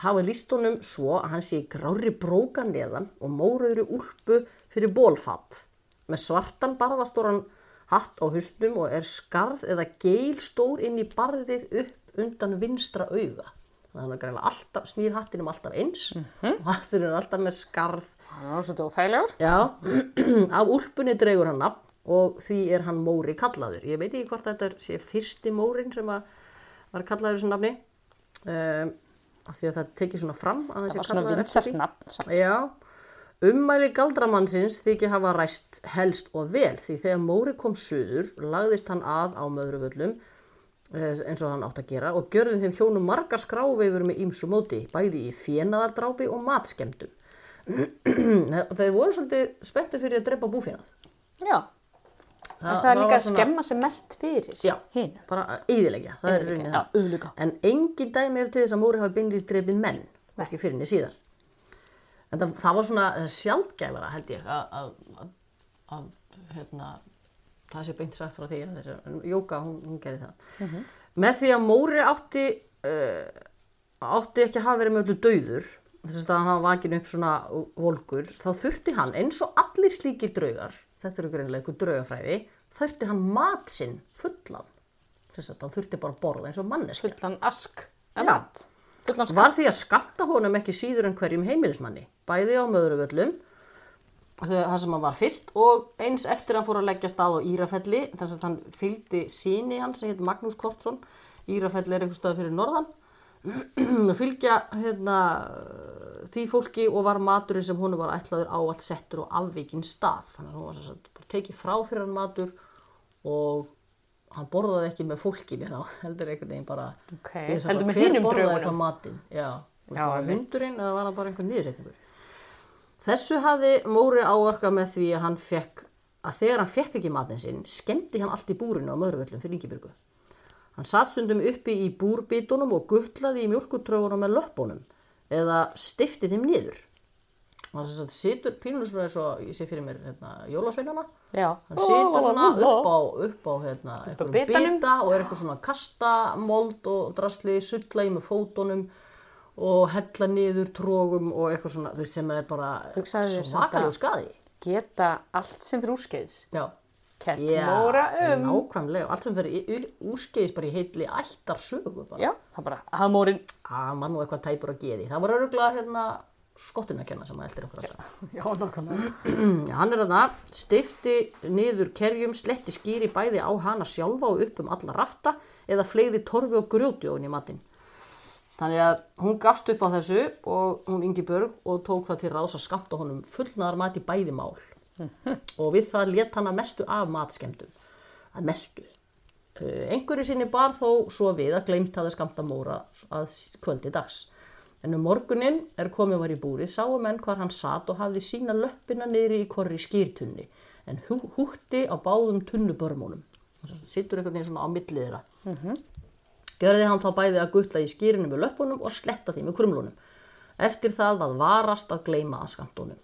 A: hafa líst honum svo að hann sé í grári bróka neðan og móraður úrpu fyrir bólfatt með svartan barðastóran hatt á hustum og er skarð eða geil stór inn í barðið upp undan vinstra auga þannig að hann er greinilega alltaf, snýr hattinum alltaf eins og hattinum er alltaf með skarð
B: Það var svolítið óþægilegur.
A: Já, af úlpunni dreigur hann nafn og því er hann Móri kallaður. Ég veit ekki hvort þetta er, sé fyrsti Mórin sem að var kallaður þessu nafni um, af því að það tekið svona fram
B: Það
A: að hann
B: var
A: sé
B: svona
A: kallaður eftir
B: vinsælt
A: því.
B: nafn samt.
A: Já, ummæli galdramannsins þykir hafa ræst helst og vel því þegar Móri kom suður lagðist hann að á möðruvöllum eh, eins og hann átt að gera og gjörði þeim hjónum margar skráveifur með ímsu móti, bæði í fjenaðardrápi og matskemdum. Þeir voru svolítið spenntir fyrir að drepa búfjönað.
B: Já, en það er líka að skemma sem mest fyrir
A: Já,
B: hinu.
A: bara að eyðileggja, það er
B: Eyðileggja,
A: raunin
B: já,
A: það.
B: eyðileggja.
A: En engin dæmi eru til þess að Móri hafi beinlýst drefið menn, ekki fyrir henni síðar. En það, það var svona sjálfgæfara, held ég, að- að, að, að hérna, það sé beint sagt frá því að þessi, en Jóka, hún, hún gerði það. Með því að Móri átti, uh, átti ekki að hafa verið með öllu dauður, þess að hann hafa vakin upp svona volkur, þá þurfti hann, eins og allir slíkir draugar, þetta eru greinlega ykkur draugafræði, þurfti hann mat sinn fullan. Þess að hann þurfti bara að borða eins og mannesk.
B: Fullan ask.
A: Já.
B: mat. Fullan skam.
A: Var því að skamta honum ekki síður en hverjum heimilismanni, bæði á möðurvöllum, það sem hann var fyrst og eins eftir hann fór að leggja stað á Írafelli, þannig að hann fylgdi síni hann sem heit Magnús Kortsson, Írafelli er einhver stað fyrir norðan, að fylgja hérna, því fólki og var maturinn sem honum var ætlaður áallt settur og afvikinn stað, þannig að hún var sem sagt bara tekið frá fyrir hann matur og hann borðaði ekki með fólkinu þá, heldur einhvern veginn bara
C: Ok,
A: Ég veist
C: heldur
A: bara,
C: með
A: hver
C: hinum
A: borðaði
C: draugunum?
A: það matinn já, já,
C: Já,
A: það var
C: einmitt.
A: hundurinn eða var það bara einhvern nýðisetningur þessu hafði Móri áorka með því að hann fekk að þegar hann fekk ekki matinn sinn skemmti hann allt í búrinu á möðruvöllum fyrir Ingebjörgu hann satt sundum uppi í búrbítunum og guttlaði í mjölkutrögunum með löppunum eða stifti þeim niður hann sem sagt situr pínur svona eins og ég sé fyrir mér hérna, jólasveinana
B: Já.
A: hann situr svona
B: Ó, ó, ó.
A: upp á, upp á hérna, einhverjum
C: bitanum.
A: bita og er eitthvað svona að kasta mold og drasli, sulla í með fótunum og hella niður trógum og eitthvað svona, þú veist, sem er bara
B: Hugsaðu þér samt að-
A: svakalegu skadi
B: Geta allt sem fyrir úrskeiðs.
A: Já,
B: Kett.
A: Já,
C: Móra um.
A: nákvæmlega, og allt sem fyrir úrskeiðis bara í heitli ættarsögu bara.
B: Já, það bara, hamórin.
A: að mann og eitthvað tæpur að geði það var öruglega hérna skottun að kenna sem að eldir okkur alltaf
C: Já, nákvæmlega.
A: Já, Mm, hann er að það, stifti niður kerjum, sletti skýri bæði á hana sjálfa og upp um alla rafta eða fleiði torfi og grjóti ofin í matinn. Þannig að hún gafst upp á þessu og hún Ingi Börg og tók það til ráðs að skamta honum fullnaðar mat í bæði mál. og við það let hann að mestu af matskemdum. Að mestu. Uh, einhverju sinni bar þó svo við að gleymst hafði skamta móra að s- kvöldi dags. En um morgunin er komið var í búrið sáu menn hvar hann satt og hafði sína löppina niðri í korri skýrtunni en hú, hútti á báðum tunnubörmónum. Þannig að sittur einhvern veginn svona á millið þeirra. Gjörði hann þá bæði að gutla í skýrinu með löppunum og sletta því með krumlunum. Eftir það var varast að gleyma að skamtunum.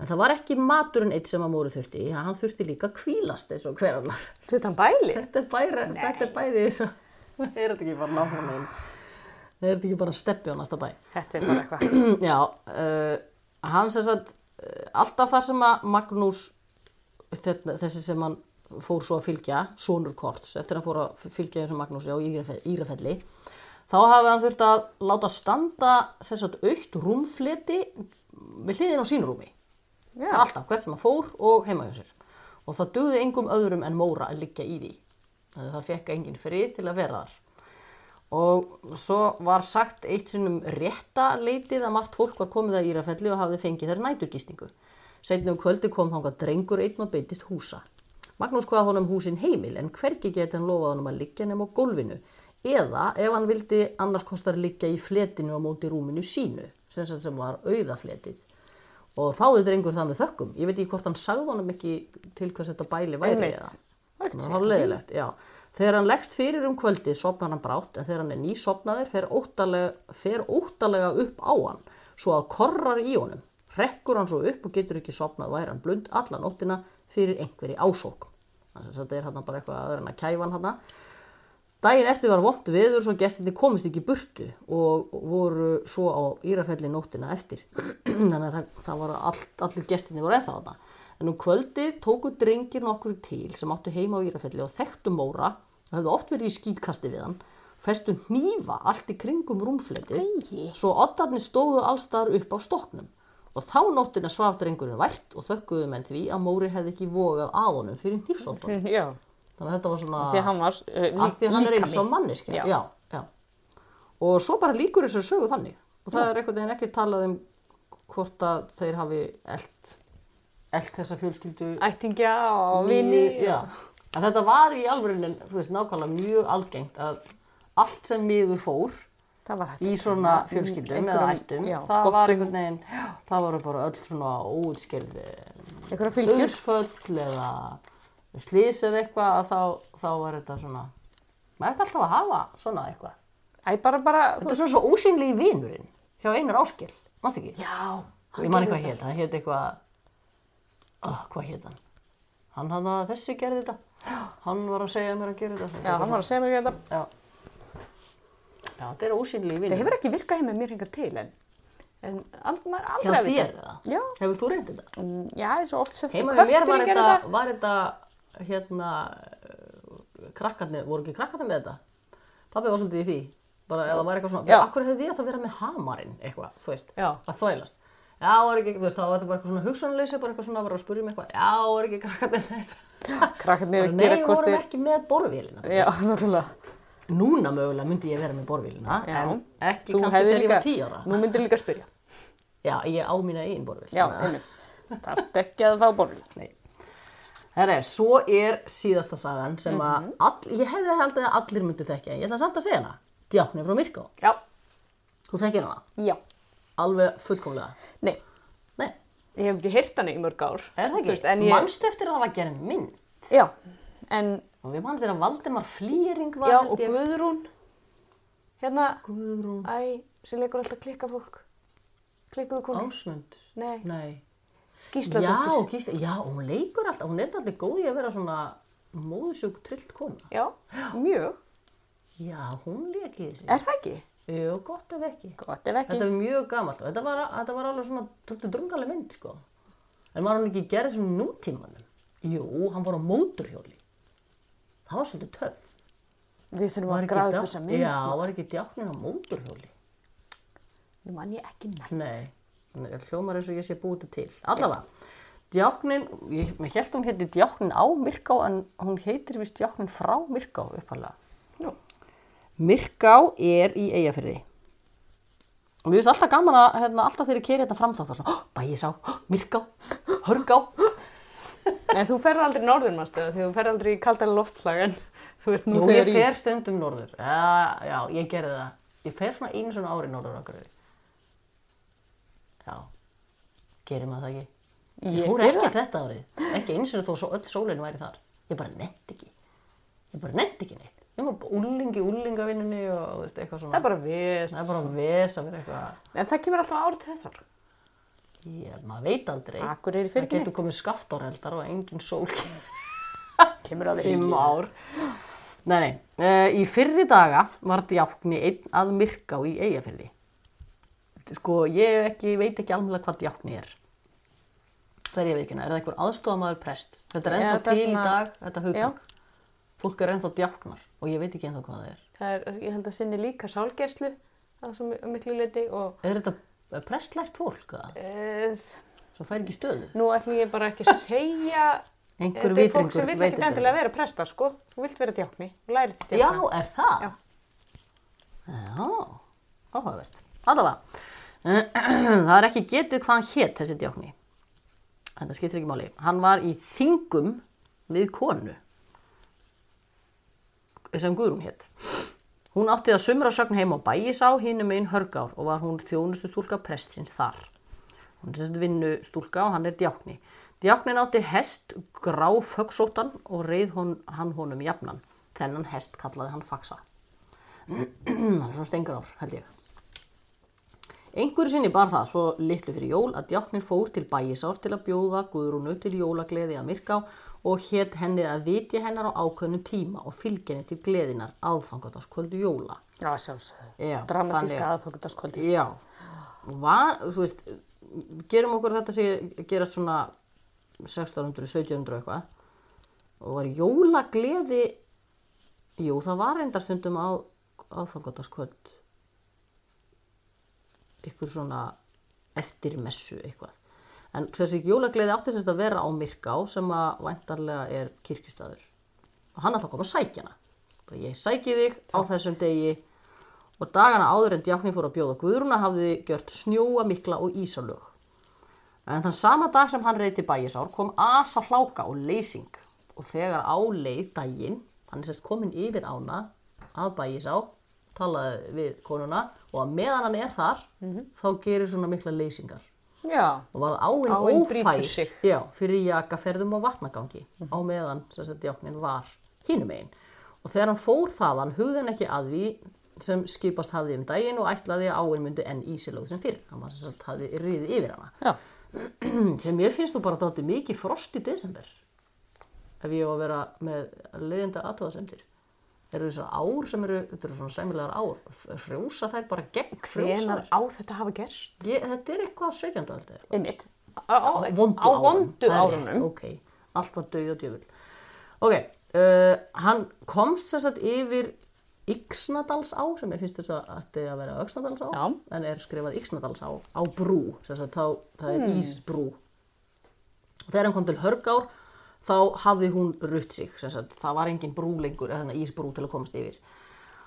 A: En það var ekki maturinn eitt sem að móru þurfti, hann þurfti líka kvílast eins og hver annar.
C: Þú veit hann bæli?
A: Þetta er, bæri, þetta er bæði eins og, er þetta ekki bara nákvæmlegin? Er þetta ekki bara steppi á næsta bæ?
B: Þetta er bara eitthvað.
A: Já, uh, hann sem sagt, uh, alltaf það sem að Magnús, þetta- þessi sem hann fór svo að fylgja, sonur Korts, eftir að hann fór að fylgja þessu Magnúsi á Írafell- Írafelli, þá hafi hann þurft að láta standa sem sagt aukt rúmfleti við hliðin á sínrúmi.
B: Já.
A: Alltaf, hvert sem hann fór og heima hjá sér. Og það dugði engum öðrum en Móra að liggja í því. Það það fekk engin frið til að vera þar. Og svo var sagt eitt sinnum rétta leitið að margt fólk var komið að Írafelli og hafði fengið þær næturgistingu. Seinni um kvöldi kom þangað drengur einn og beitist húsa. Magnús hvaða honum húsin heimil en hvergi geti hann lofað honum að liggja nema á gólfinu eða ef hann vildi annars kostar liggja í fletinu á móti rúminu sínu sem, sagt sem var auðafletið. Og þáði drengur það með þökkum. Ég veit ekki hvort hann sagði honum ekki til hvers þetta bæli væri
B: Einmitt.
A: eða.
B: Það er ekkert
A: Það var leðilegt, já. Þegar hann leggst fyrir um kvöldi sopna hann brátt en þegar hann er nýsopnaður fer óttalega, fer óttalega upp á hann svo að korrar í honum. Rekkur hann svo upp og getur ekki sopnað væri hann blund alla nóttina fyrir einhverji ásókn. Þannig að þetta er hann bara eitthvað aður en að kæfa hann hann. Dægin eftir var vond veður svo gestinni komist ekki í burtu og voru svo á Írafelli nóttina eftir. Þannig að það, það var all, allir gestinni voru eða þarna. En um kvöldið tóku drengir nokkur til sem áttu heima á Írafelli og þekktu Móra og hefðu oft verið í skýtkasti við hann. Festu hnífa allt í kringum rúmfletið svo oddarnir stóðu allstaðar upp á stokknum Og þá nóttina svaf drengurinn vært og þökkuðu menn því að Móri hefði ekki vogað að honum fyrir nýfsóttan.
B: Já,
A: Þannig að þetta var svona...
B: því að hann var uh, lí,
A: Af því að hann er eins
B: líkami.
A: og manneskja.
B: Já.
A: Já. Já, Og svo bara líkur þessu sögu þannig. Og það er einhvern veginn ekki talað um hvort að þeir hafi elt, elt þessa fjölskyldu.
C: Ættingja og vini.
A: Já. Að þetta var í alvörunin, þú veist, nákvæmlega mjög algengt að allt sem miður fór
B: Það var hægt.
A: í svona fjölskyldum eða
B: einhverjum-
A: ættum,
B: já,
A: það var
B: skottum.
A: einhvern veginn, það voru bara öll svona eh, óutskjörði
B: Einhverja fylgjur.
A: döðsföll eða slís eða eitthvað að þá, þá var þetta svona maður ætti alltaf að hafa svona eitthvað
B: Æ, bara, bara, þú
A: þetta er svona svo ósynlegi vinurinn hjá Einar Áskil, mannst ekki
B: Já.
A: ég man eitthvað hétt, hann hétt eitthvað oh, hvað hétt hann hann hann að þessi gerði þetta hann var að segja mér að gera þetta
B: Já, hann var að segja mér hérna. þetta.
A: já. já, þetta er ósynlegi
C: Það
A: vinurinn
C: hefur ekki virkað hjá mér mér hingað til en, en aldrei, maður er
A: hjá
C: aldrei að
A: þér
C: vita.
A: eða?
B: Já.
A: hefur þú reyndið þetta?
B: Mm, Já, eins og oft sett
A: heima við mér var
B: gerði
A: þetta, var þetta hérna eh, krakkarnir, voru ekki krakkarnir með þetta pabbi var svolítið í því bara eða það var eitthvað svona,
B: Já.
A: bara, akkur hefði ég átt að vera með hamarinn eitthvað, þú veist,
B: Já.
A: að þvælast já, var ekki, þú veist, þá var þetta bara eitthvað svona hugsanleysi bara eitthvað svona, bara að spurja mig eitthvað já, var ekki krakkarnir með þetta
B: Krakkarnir
A: Bara,
B: gera
A: nei,
B: hvort
A: vorum
B: þeir-
A: ekki með borvélina
B: Já, nákvæmlega.
A: núna mögulega myndi ég vera með borvélina
B: Já.
A: en ekki
B: Þú
A: kannski
B: hefðir
A: þegar ég
B: líka-
A: var tíu ára
B: Nú myndir líka spyrja.
A: já, ég á mína eigin borvél
B: Já,
A: þannig að-
B: einu. Það er ekki að þá borðið.
A: Nei. Herre, svo er síðasta sagan sem að all, ég hefði haldið að allir myndu þekkja. en Ég ætla samt að segja hana. Djáknir frá Myrká.
C: Já,
A: Þú þekkir hana.
B: Já.
A: Alveg fullkomlega.
B: Nei.
A: Nei,
C: ég hef ekki heyrt hana í mörg ár.
A: er það
C: Þú
A: ekki?
C: Veist, en ég,
A: Manst eftir að það var gerð mynd.
B: Já. En,
A: Og við mann þegar Valdimar Flýring var
C: já,
A: held
C: og
A: ég-
C: Guðrún, hérna,
A: Guðrún
C: æ, sem leikur alltaf klikka fólk. Klikkuðu konu.
A: Ásmund.
C: Nei,
A: Nei. Já,
C: Gísladóttir.
A: Gísla, já, hún leikur alltaf. Hún er alltaf góð í að vera svona móðsjúk trillt kona.
C: Já. mjög.
A: Já, hún leik í þessu.
B: er það ekki?
A: Jú, gott ef ekki.
B: Gott ef ekki.
A: Þetta er mjög gamalt og þetta var, þetta var alveg svona tóttu drungaleg mynd sko. En var hann ekki gerð svona í nútímanum? Jú, hann var á móturhjóli. Það var svolítið töf.
B: Við þurfum að gráða upp þessa mynd.
A: Já, var ekki djáknin á móturhjóli.
B: Nú mann ég ekki nefn.
A: Nei, þannig að hljómar eins og ég sé búið þetta til. Allavega, djáknin, ég, ég held hún heiti djáknin á Myrká en hún heitir vist djáknin frá Myrká uppalega.
C: Nú.
A: Myrká er í eigafyrði. Og mér finnst alltaf gaman að hérna, alltaf þegar ég keri þetta fram þá bara svona, oh, bæjisá, oh, myrká, hörgá.
C: En þú ferð aldrei norður, manstu það, því þú ferð aldrei í kaldara loftslag en þú ert nú
A: Jú, ég
C: þegar í.
A: fer stundum norður. Já, já, ég gerði það. Ég fer svona einu svona ári norður okkur. Já, gerir maður það ekki. Ég,
B: Ég
A: fór
B: gerði
A: ekki þetta árið. Ekki einu sinni þó svo öll sólinn væri þar. Ég bara nefndi ekki. Ég bara nefndi ekki neitt. Ég var bara úlingi, úlingavinnunni og þú veist, eitthvað
C: Það
A: svona.
C: er bara við.
A: Það er bara ves að vera eitthvað.
C: En það kemur alltaf árið til þar.
A: Ég, maður veit aldrei.
B: Akureyri
A: Það
B: fyrir ekki
A: getur komið skaftárheldar og engin sól
B: neitt. Kemur að
A: fimm ár. Nei, nei. Uh, í fyrri daga var djákni einn að myrká í eigafyrði. Sko, ég ekki, veit ekki alveg hvað djákni er. Það er ég veit ekki, er það einhver aðstofamaður prest? Þetta er
B: Já,
A: ennþá
B: þetta er
A: til í
B: svona-
A: dag, þetta hugtak. Fólk er ennþá djáknar og ég veit ekki ennþá hvað það er.
C: Það er, ég held að sinni líka sálgæslu á svo mi- miklu leiti og
A: Er þetta prestlegt fólk? eða?
C: uh,
A: Svo fær ekki stöðu.
C: nú ætlum ég bara ekki að segja
A: Einhver
C: Þetta er fólk sem
A: vitringur
C: vil
A: veit
C: ekki
A: þetta.
C: endilega vera prestar, sko. Þú vilt vera djákni, þú lærið til
A: Já,
C: djákna.
A: er það?
C: Já.
A: Já, áhugavert. Allavega, það er ekki getið hvað hann hétt þessi djákni. En það skiptir ekki máli. Hann var í þingum við konu sem Guðrún hétt. Hún átti það sumra sögn heim á bæjisá hínum einn hörgár og var hún þjónustu stúlka prestsins þar. Hún er þessi vinnu stúlka og hann er djákni. Djáknin átti hest gráf högsóttan og reið hon, hann honum jafnan. Þennan hest kallaði hann faxa. hann er svona stengur ár, held ég. Einhverju sinni bar það svo litlu fyrir jól að djáknin fór til bæjisár til að bjóða Guðrúnu til jólagleði að myrká og hétt henni að vitja hennar á ákveðnum tíma og fylgjenni til gleðinar aðfangataskvöldu jóla.
B: Já, sjálfsögðu.
A: Já,
B: Dramatíska
A: þannig.
B: aðfokutaskvöldi.
A: Já, var, þú veist, gerum okkur þetta sé gerast svona 1600, 1700 eitthvað og var jólagleði, jú það var enda stundum á aðfangataskvöld, ykkur svona eftir messu eitthvað. En þessi jólagleði átti sérst að vera á Myrká sem að væntarlega er kirkjustæður. Og hann ætla að koma að sækja hana. Bara ég sæki þig á þessum degi og dagana áður en djáknin fór að bjóða Guðrúna hafði gjört snjóa mikla og ísalög. En þann sama dag sem hann reyti bæjisár kom asa hláka og leysing og þegar á leið daginn, hann er sérst komin yfir ána að bæjisá, talaði við konuna og að meðan hann er þar, þá gerir svona mikla leysingar
B: Já.
A: og varð áin,
C: Áin
A: ófær
C: brýtur sig.
A: já, fyrir jakaferðum og vatnagangi á meðan sem sagt jáknin var hínum einn og þegar hann fór þaðan hugði hann ekki að því sem skipast hafði um daginn og ætlaði að áin myndi enn ísilög sem fyrir hann var sem sagt hafði riðið yfir hana Mm,
B: Já.
A: sem mér finnst þú bara dátti mikið frost í desember ef ég á að vera með leiðinda aðtöðasendir eru þessar ár sem eru, þetta eru svona sæmilegar ár f- frjósa þær bara gegn frjósa
C: Hvenar á þetta hafa gerst?
A: ég, þetta er eitthvað á 17. aldrei
B: Einmitt.
C: Á, á,
A: á vondu
C: á
A: árunum.
C: vondu
A: Það er rétt,
C: árunum.
A: ok, allt var döið og djöfull ok, uh, hann komst sem sagt yfir Yxnadalsá sem er finnst þess að ætti að vera Öxnadalsá
B: Já.
A: en er skrifað Yxnadalsá á brú sem sagt þá, það er Ísbrú og þegar hann kom til Hörgár þá hafði hún rutt sig sem sagt það var engin brú lengur eða þannig Ísbrú til að komast yfir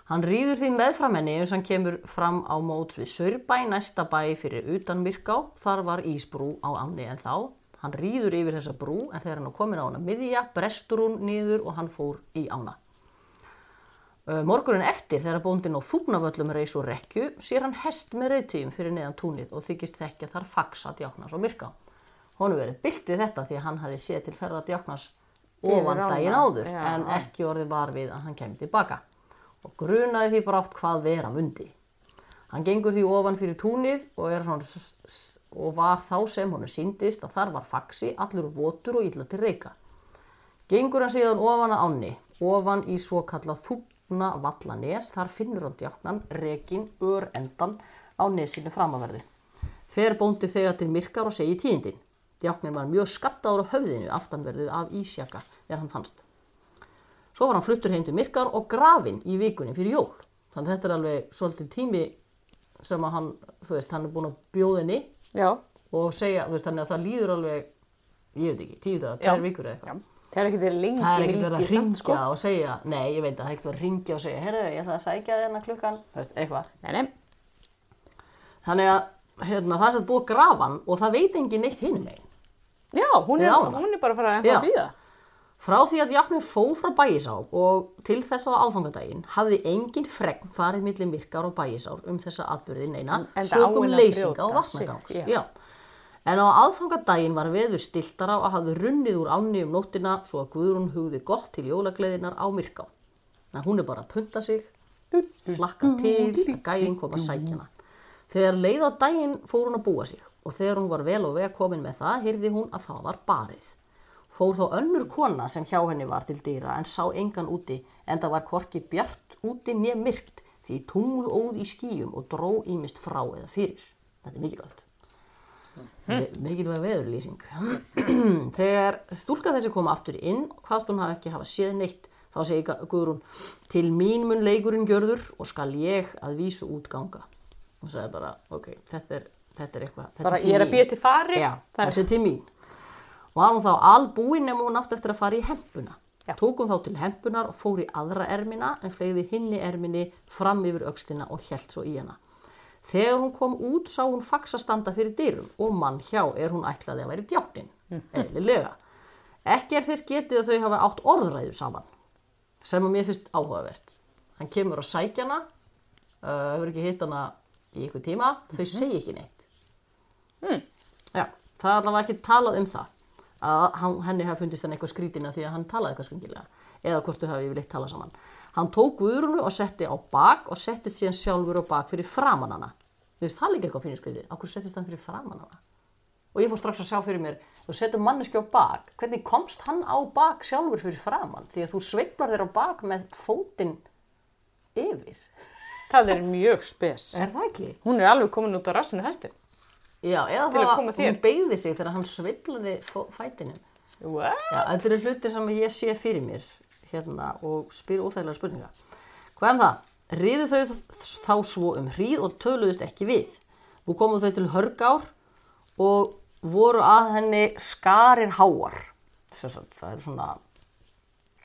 A: Hann rýður því meðfram henni eins og hann kemur fram á mót við Sörbæ, næsta bæ fyrir utan Myrká. Þar var Ísbrú á áni en þá. Hann rýður yfir þessa brú en þegar hann er komin á hana miðja, brestur hún niður og hann fór í ána. Ö, Morgunin Eh, eftir þegar bóndin á þúfnavöllum reis og rekju sér hann hest með reytíum fyrir neðan túnið og þykist þekkja þar faksa djáknas og myrká. Honum verið byllt við þetta því að hann hafi séð til ferða djáknas ofan
C: ána,
A: daginn áður
C: já.
A: en ekki orðið var við að hann kemur tilbaka og grunaði því brátt hvað vera mundi. Hann gengur því ofan fyrir túnið og, er hann, og var þá sem honum síndist að þar var faksi, allur votur og illa til reyka. Gengur hann síðan ofan að ánni, ofan í svo kallað þúfna vallanes, þar finnur hann djáknan, rekin, örendan á nesinu framaverði. Fer bóndi þegar til myrkar og segi tíðindin. Djáknin var mjög skattaður á höfðinu aftanverðu af ísjaka er hann fannst. Svo var hann fluttur heim til myrkar og grafinn í vikunni fyrir jól. Þannig að þetta er alveg svolítið tími sem að hann, þú veist, hann er búin að bjóða henni
B: Já.
A: og segja, þú veist, þannig að það líður alveg, ég veit ekki, tíu dagar, tvær vikur eða eitthvað.
B: Já. Það er ekkert verið lengi
A: Það er ekkert verið að
B: líkir samt, sko.
A: ringja og segja, nei, ég veit að það er ekkert verið að ringja og segja, herðu, ég ætla að sækja þérna klukkan, þú veist, eitthvað.
B: Nei, nei.
A: Þannig að hérna, það er satt búið að grafa hann og það veit engin neitt hinum megin.
B: Já, hún er,
A: Við ána.
B: hún er bara að fara
A: Já.
B: að býða.
A: Frá því að Jakni fóð frá bæjisá og til þess að áfangardaginn hafði engin fregn farið millir myrkar og bæjisár um þessa atbyrði neina
B: En- Mm, enda áin
A: sögum
B: að
A: leysinga
B: brjóta
A: og vatnagangs.
B: sig, já.
A: Já. En á aðfangadaginn var veður stiltara og hafði runnið úr ánni um nóttina svo að Guðrún hugði gott til jólagleðinar á myrká. En hún er bara að punta sig, hlakka til, að gæðin koma að sækja hana. Þegar leið á daginn fór hún að búa sig og þegar hún var vel og vega komin með það heyrði hún að það var barið. Fór þá önnur kona sem hjá henni var til dýra en sá engan úti en það var korki bjart úti né myrkt því tungl óð í skýjum og dró ímist frá eða fyrir. Þetta er mikilvægt.
B: Hm.
A: Mi- Mikilvæg veðurlýsing. Þegar stúlka þessi kom aftur inn, hvaðst hún hafi ekki hafa séð neitt, þá segi Ga- Guðrún, til mín mun leikurinn gjörður og skal ég að vísu útganga. Hún sagði bara, ok, þetta er, þetta er eitthvað. þetta
B: Bara
A: til
B: ég er að
A: mín.
B: býja til fari.
A: Já, þetta er til mín. Var hún þá albúin nema hún átt eftir að fara í hempuna.
C: Já.
A: Tók hún þá til hempunar og fór í aðra ermina en fleiði hinni erminni fram yfir öxlina og hjælt svo í hana. Þegar hún kom út sá hún faxa standa fyrir dyrum og mann hjá er hún ætlaði að væri djáknin, eðlilega. Ekki er þess getið að þau hafa átt orðræðu saman, sem að mér finnst áhugavert. Hann kemur á sækjana, uh, hefur ekki hitt hana í ykkur tíma, þau segja ekki neitt. Já, það er allavega ekki talað um það að hann, henni hafi fundist hann eitthvað skrítina því að hann talaði eitthvað skringilega eða hvort þau hafi yfirleitt talað saman. Hann tók Guðrúnu og setti á bak og settist síðan sjálfur á bak fyrir framan hana. Þú veist, það er líka eitthvað pínu skrítið. Akkur settist hann fyrir framan hana? Og ég fór strax að sjá fyrir mér, þú setur manneski á bak. Hvernig komst hann á bak sjálfur fyrir framan? Því að þú sveiflar þér á bak með fótinn yfir.
B: Það er mjög spes.
A: Er það ekki?
B: Hún er alveg komin út á rassinu hestin.
A: Já, eða
C: Til að
A: það
C: koma
A: að
C: þér.
A: hún beigði sig þegar hann sveiflaði fó- fætinum.
C: What?
A: Já, þetta eru hlutir sem ég sé fyrir mér hérna og spyr óþægilega spurninga. Hvað um það? Riðu þau þá svo um hríð og töluðust ekki við. Nú komu þau til hörgár og voru að henni skarir háar. Sessat, það er svona,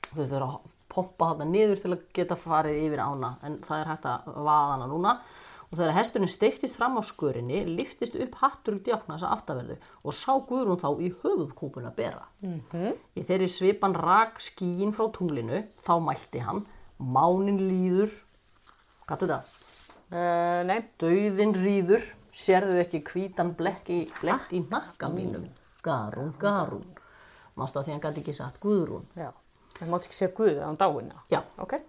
A: þú veist, þau eru að pompa þarna niður til að geta farið yfir ána, en það er hægt að vaða hana núna. Og þegar hesturinn steiftist fram á skurinni, liftist upp hattur og djákna þessa aftaverðu og sá Guðrún þá í höfuðkúpuna bera. Í þeirri svipan rak skíin frá tunglinu, þá mælti hann, mánin líður, gattu þetta?
B: Eh,
C: Uh, nei,
A: Dauðin rýður, sérðu ekki hvítan blekk í, blekk í nakka mínum. Ah. Mm. Garún, garún. Mástu að því hann gæti ekki sagt Guðrún.
B: Já. Það mátt ekki segja guð að hann dáina.
A: Já,
C: ok.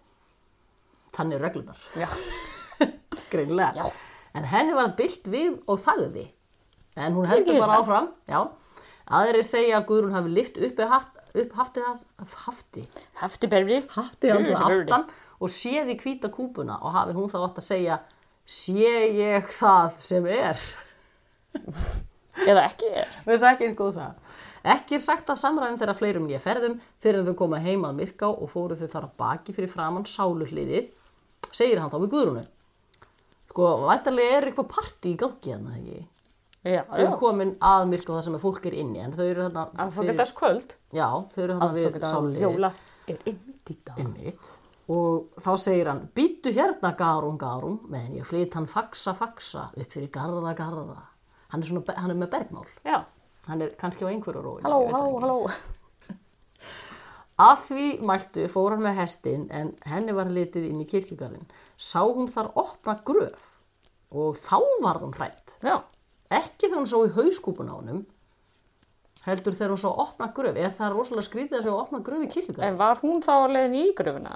A: þannig er reglunar.
B: Já.
A: Greinlega. En henni var byllt við og þagði. En hún
B: Ekki
A: heldur bara
B: hissa.
A: áfram. Já. Aðri segja að Guðrún hafi lyft uppi haft, upp haftið hans, hafti,
B: Hefti berri.
A: haftið hans
B: Guð, hörði.
A: aftan og séði hvíta kúpuna og hafi hún þá átt að segja sé ég það sem er.
B: Eða ekki er.
A: Mér finnst það ekki eins góð saga. Ekki er sagt af samræðum þeirra fleirum nýja ferðum fyrir en þau koma heim að myrká og fóru þau þar að baki fyrir framann sáluhliðið, segir hann þá við Guðrúnu. Sko, væntalega er eitthvað partí í gangi hérna, ekki?
B: Já,
A: Þau eru komin að myrká það sem að fólk er inni, en þau eru þarna fyrir,
B: kvöld.
A: já, þau eru þarna við sáluhliðið.
B: Jóla er inn í dag.
A: Einmitt. Og þá segir hann, býttu hérna garum, garum, meðan ég flyt hann faxa, faxa upp fyrir garða, garða. Hann er, svona, hann er með bergmál.
B: Já.
A: Hann er kannski á einhverju rói.
B: Halló, halló, halló.
A: Að því mæltu fór hann með hestin en henni var litið inn í kirkjugarðin. Sá hún þar opna gröf og þá var hún hrætt.
B: Já.
A: Ekki þegar hún sá í hauskúpun á honum, heldur þegar hún sá opna gröf. Er það rosalega skrítið að sjá opna gröf í kirkjugarðin?
B: En var hún þá að leiðin í gröfuna?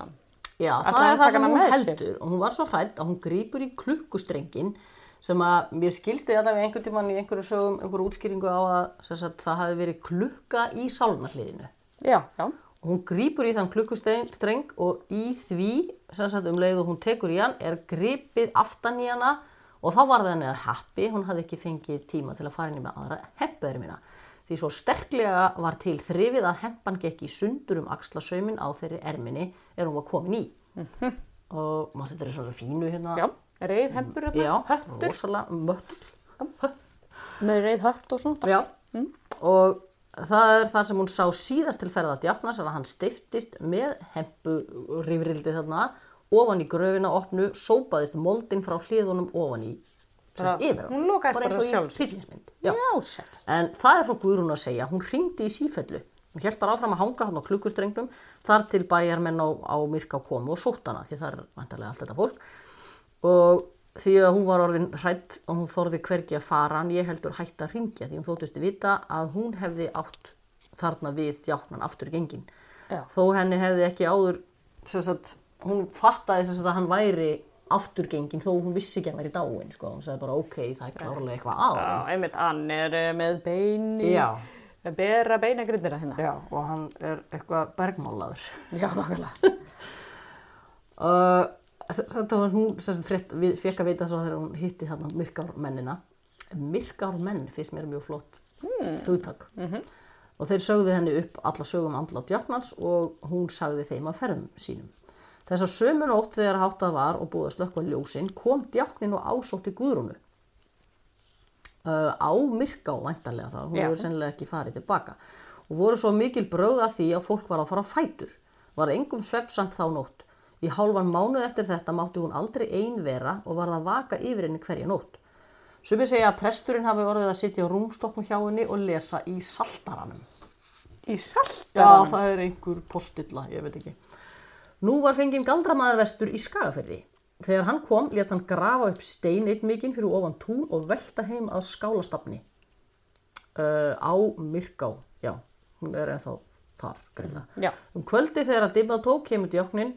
A: Já, það
B: ætlaði hann að
A: er það
B: taka
A: sem
B: hana
A: hún
B: með sér?
A: heldur. Og hún var svo hrætt að hún grýpur í klukkustrengin sem að mér skilsti þetta við einhvern tímann í einhverju sögum, einhverju útskýringu á að sem sagt, það hafi verið klukka í sálnarhliðinu.
B: Já, já.
A: Og Hún grýpur í þann klukkustreng og í því, sem sagt um leið og hún tekur í hann, er gripið aftan í hana og þá var það henni að happi, hún hafði ekki fengið tíma til að fara henni með aðra hempuðurmina. Því svo sterklega var til þrifið að hempan gekk í sundur um axlasaumin á þeirri erminni er hún var komin í. Og maður þetta er svona fínu hérna.
B: Já.
C: Reif, hempur
A: Já,
C: hérna, höttur.
A: rosalega möttur.
B: Með reið hött og svona.
A: Já,
C: Mm.
A: og það er það sem hún sá síðast til ferða djákna sem að hann stiftist með hempurifrildi þarna ofan í gröfina opnu sópaðist moldin frá hliðunum ofan í sem sagt,
C: Bara-
A: yfir á.
C: hún lokaðist
A: Bara
C: bara
A: eins og í
C: sjálf sér.
A: hryllingsmynd. Já.
B: Já, sæll.
A: En það er frá Guðrún að segja, hún ringdi í sífellu. Hún held bara áfram að hanga hann á klukkustrengnum þar til bæjarmenn á, á Myrká komu og sótt hana, því það er vantarlega allt þetta fólk. Og því að hún var orðin hrætt og hún þorði hvergi að fara en ég heldur hætt að ringja því hún þóttist vita að hún hefði átt þarna við djáknan aftur gengin.
B: Já.
A: Þó henni hefði ekki áður, sem sagt, hún fattaði sem sagt að hann væri aftur gengin þó hún vissi ekki að hann væri dáin, sko. Hún sagði bara, ok, það er klárlega eitthvað á.
B: Já, einmitt, hann er eh, með beini.
A: Já.
B: Bera beina grindina hérna.
A: Já, og hann er eitthvað bergmálaður.
B: Já, nokkulega.
A: Uh, þetta var hún sem frétt, við fekk að vita svo þegar hún hitti þarna myrkármennina. Myrkármenn finnst mér mjög flott hugtak. Og þeir sögðu henni upp alla sögum andlátt jafnans og hún sagði þeim að ferðum sínum. Þess að sömu nótt þegar háttað var og búið að slökkva ljósin kom djáknin og ásótti guðrúnu. uh, á myrká væntanlega það, hún
B: Já.
A: hefur sennilega ekki farið tilbaka og voru svo mikil bröð af því að fólk var að fara á fætur var engum svefsamt þá nótt í hálfan mánuð eftir þetta mátti hún aldrei ein vera og var að vaka yfir henni hverja nótt sumir segja að presturinn hafi orðið að sitja á rúmstokkum hjá henni og lesa í saltaranum
C: Í salt.
A: Já, það er einhver postilla, ég veit ekki. Nú var fenginn galdramaður vestur í Skagafyrði. Þegar hann kom, let hann grafa upp stein eitt mikinn fyrir ofan tún og velta heim að skálastafni. Uh, á Myrká, já, hún er ennþá þar, greina.
B: Mm, Já.
A: Um kvöldi þegar að dimma tók kemur djáknin,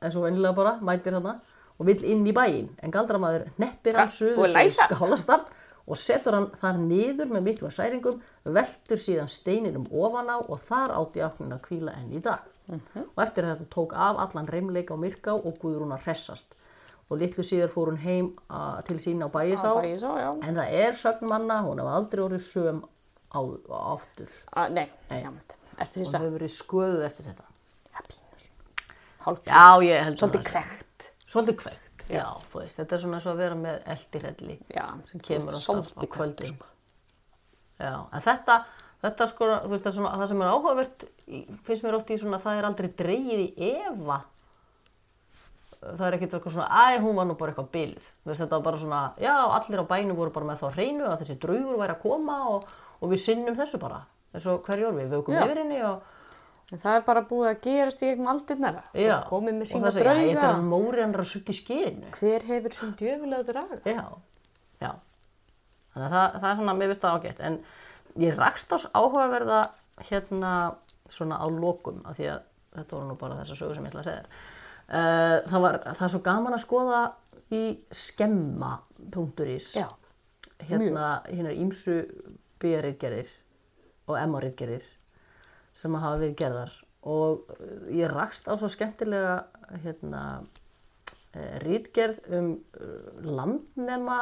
A: eins og vennilega bara, mætir hana, og vill inn í bæin. En galdramaður neppir hann
B: Ja,
A: suður
B: og læsa.
A: skálastarn og setur hann þar niður með miklum særingum, veltur síðan steininum ofan á og þar átti áknin að kvíla enn í dag. Og eftir þetta tók af allan reymleika og myrká og guður hún að hressast. Og litlu síðar fór hún heim a, til sín á bæjisá,
B: Bara ég svo, já.
A: en það er sögn manna, hún hafa aldrei orðið söm á, áttur.
B: A, Ah, nei, já, mynd. Ertu því
A: Hún
B: að
A: hefur verið sköðuð eftir þetta.
B: Já, pínus. Hálf.
A: Já, ég held
B: Svolítið kvekt.
A: Svolítið kveikt, já, þú veist, þetta er svona eins og að vera með eldirhelli
B: Já,
A: sem kemur alltaf á sko.
B: svolítið sko. kvekt.
A: kvöldin. Já, en þetta, þetta sko, þú veist, það, er svona, það sem er áhugavert, í- finnst mér oft í svona, það er aldrei dreigið í efa. Það er ekkert eitthvað svona, æ, hún var nú bara eitthvað byluð. Þú veist, þetta var bara svona, já, allir á bænum voru bara með þá hreinu að þessi draugur væri að koma og, og við sinnum þessu bara. Þess og hverju orð við vökum
B: Já.
A: yfir henni og,
B: En það er bara búið að gerast í einhverjum aldirnar.
A: já.
B: Komið með
A: Og
B: sína
A: það segja, "Æ, Þetta
B: drauga.
A: er hann móri hann er að sukka í skýrinu.
B: Hver hefur sem djöfulega draga?
A: Já, já. Þannig að það, það er svona, mér finnst það ágætt. En ég rakst ás áhugaverða hérna svona á lokum, af því að þetta voru nú bara þessa sögu sem ég ætla að segja þér. Uh, það, var, það er svo gaman að skoða í skemma.is
B: Já.
A: hérna, hérna ímsu bíjarirgerðir og emarirgerðir sem hafa verið gerðar og eh, ég rakst á svo skemmtilega hérna rítgerð um eh, landnema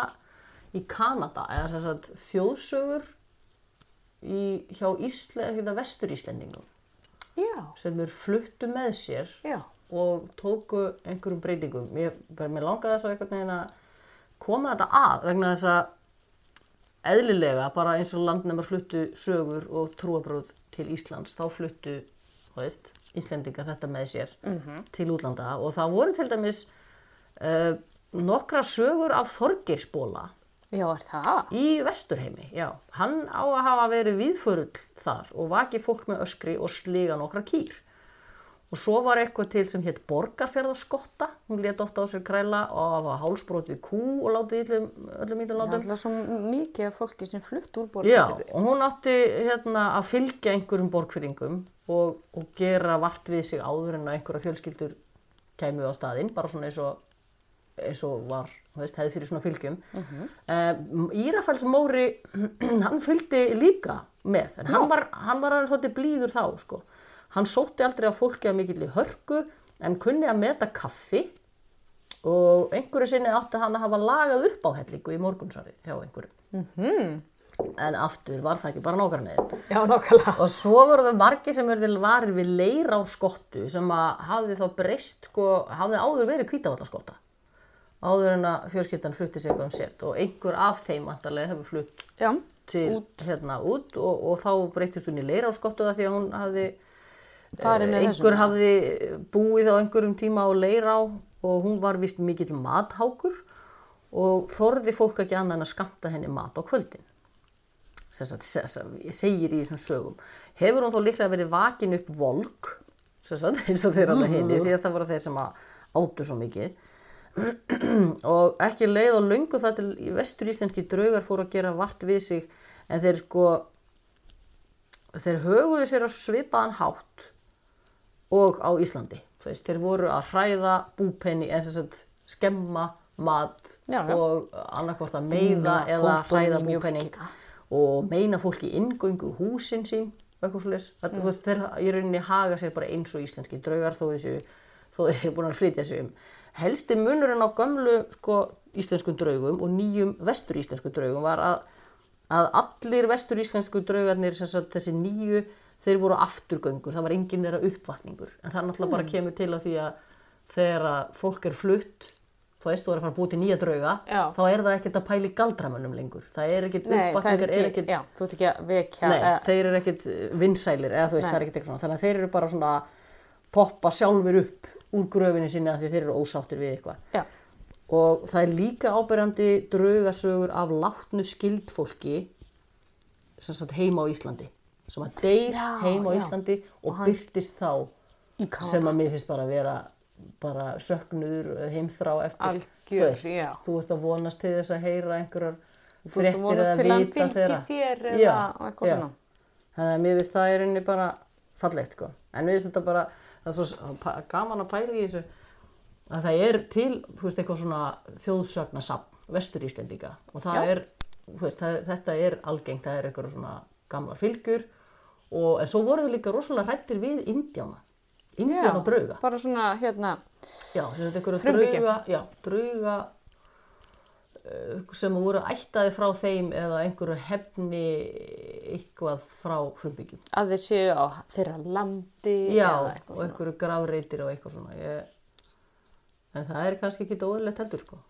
A: í Kanada eða sem sagt þjóðsögur í, hjá Ísle, hérna, vesturíslendingum
B: Já.
A: sem eru fluttu með sér
B: Já.
A: og tóku einhverjum breytingum. Mér, bara- mér langaði þess að einhvern veginn að koma þetta að vegna þess að eðlilega bara eins og landnemar fluttu sögur og trúabröð til Íslands þá fluttu, þú veist, Íslendinga þetta með sér til útlanda og það voru til dæmis uh, nokkra sögur af Þorgirsbóla
B: Já, er það?
A: í Vesturheimi, já. Hann á að hafa verið viðförull þar og vakið fólk með öskri og sliga nokkra kýr. Og svo var eitthvað til sem hétt borgarferðarskotta, hún let oft á sér kræla og hafa hálsbrotið kú og látið illum, öllum
B: Það er
A: ítlum látum.
B: alltaf svo mikið af fólki sem flutt úr borðið.
A: Já, og hún átti hérna að fylgja einhverjum borgfyrringum og, og gera vart við sig áður en að einhverja fjölskyldur kæmu á staðinn, bara svona eins og, eins og var, þú veist, hefði fyrir svona fylgjum. Uh Írafæls Móri, hann fylgdi líka með, en hann var, hann var aðeins svolítið blíður þá, sko. Hann sótti aldrei að fólki að mikill í hörku, en kunni að meta kaffi og einhverju sinni átti hann að hafa lagað upp á hellingu í morgunsarið hjá einhverju. En aftur var það ekki bara nákvæmlega.
B: Já, nokkala.
A: Og svo voru við margir sem verður varir við leir á skottu sem að hafði þá breyst, sko, hafði áður verið kvítavallaskotta. Áður en að fjölskyldan flutti sig eitthvað um set og einhver af þeim antarlega hefur flutt
B: Já.
A: til hérna út og, og þá breytist hún í leir á skottu það því að hún hafði,
B: Farið með þessum.
A: Eh, einhver hafði búið á einhverjum tíma á leir á og hún var vist mikill mathákur og þorði fólk ekki annað en að skamta henni mat á kvöldin sem sagt, sem sagt, segir í þessum sögum hefur hún þó líklega verið vakin upp volk sem sagt, eins og þeir alltaf henni því að það voru þeir sem að áttu svo mikið og ekki leið og löngu það til í vesturíslenski draugar fóru að gera vart við sig en þeir sko þeir höguðu sér á svipaðan hátt og á Íslandi Þú veist, þeir voru að hræða búpenni en sem sagt skemma mat
B: Já, já.
A: og annarkvort að meiða
B: Dingla
A: eða
B: fótunum
A: hræða
B: í
A: búpenning
B: mjólkina.
A: og meina fólki inngöngu húsin sín og eitthvað svoleiðis. Þetta, þú veist, þeir í rauninni haga sér bara eins og íslenski draugar þó þessi, þó þessi er búin að flytja sig um. Helsti munurinn á gömlu sko, íslenskum draugum og nýjum vesturíslenskum draugum var að, að allir vesturíslensku draugarnir, sem sagt, þessi nýju, þeir voru afturgöngur, það var enginn þeirra uppvatningur. En það náttúrulega bara kemur til að því að þegar að fólk er flutt, þú veist, þú er að fara að búið til nýja drauga,
B: Já.
A: þá er það ekkert að pæli galdramönnum lengur. Það er ekkert
B: Nei, það er
A: uppvatningar, er
B: ekki,
A: ekkert
B: já, þú ert ekki að vekja.
A: Nei,
B: eh,
A: þeir eru ekkit vinsælir eða þú veist,
B: Nei.
A: það er ekkit eitthvað svona. Þannig að þeir eru bara svona poppa sjálfur upp úr gröfinni sinni að því þeir eru ósáttir við eitthvað.
B: Já,
A: Og það er líka ábyrjandi draugasögur af látnu skildfólki sem sagt heima á Íslandi. Sem að deyr
B: Já,
A: heima á
B: já.
A: Íslandi og byrtist þá
B: í kála.
A: sem að mér finnst bara að vera bara söknur, heimþrá eftir
C: Algjör, já.
A: þú ert að vonast til þess að heyra einhverjar
B: ert að
A: fréttir
B: vonast
A: eða
B: til að hann
A: vita
B: fylgi
A: þeirra
C: þér eða
A: já,
B: eitthvað
A: já.
B: svona.
A: þannig að mér finnst það er einni bara fallegt sko. en mér finnst þetta bara það er svo pa- gaman að pæla í þessu að það er til þú veist, eitthvað svona þjóðsögnasafn vestur Íslendinga og það er þú veist, það, þetta er algengt, það er eitthvað svona gamla fylgjur og en svo voru þau líka rosalega hrættir við indjána indjána og drauga
B: Bara svona, hérna,
A: Já, sem þetta einhverja
C: Frumbyggja.
A: drauga, já, drauga eh, sem voru ættaði frá þeim eða einhverju hefni eitthvað frá frumbyggjum.
B: að þeir séu á þeirra landi.
A: Já,
B: eða
A: og
B: eitthvað svona.
A: einhverju gráreitir og eitthvað svona. Ég... En það er kannski ekki óðurlegt heldur, sko.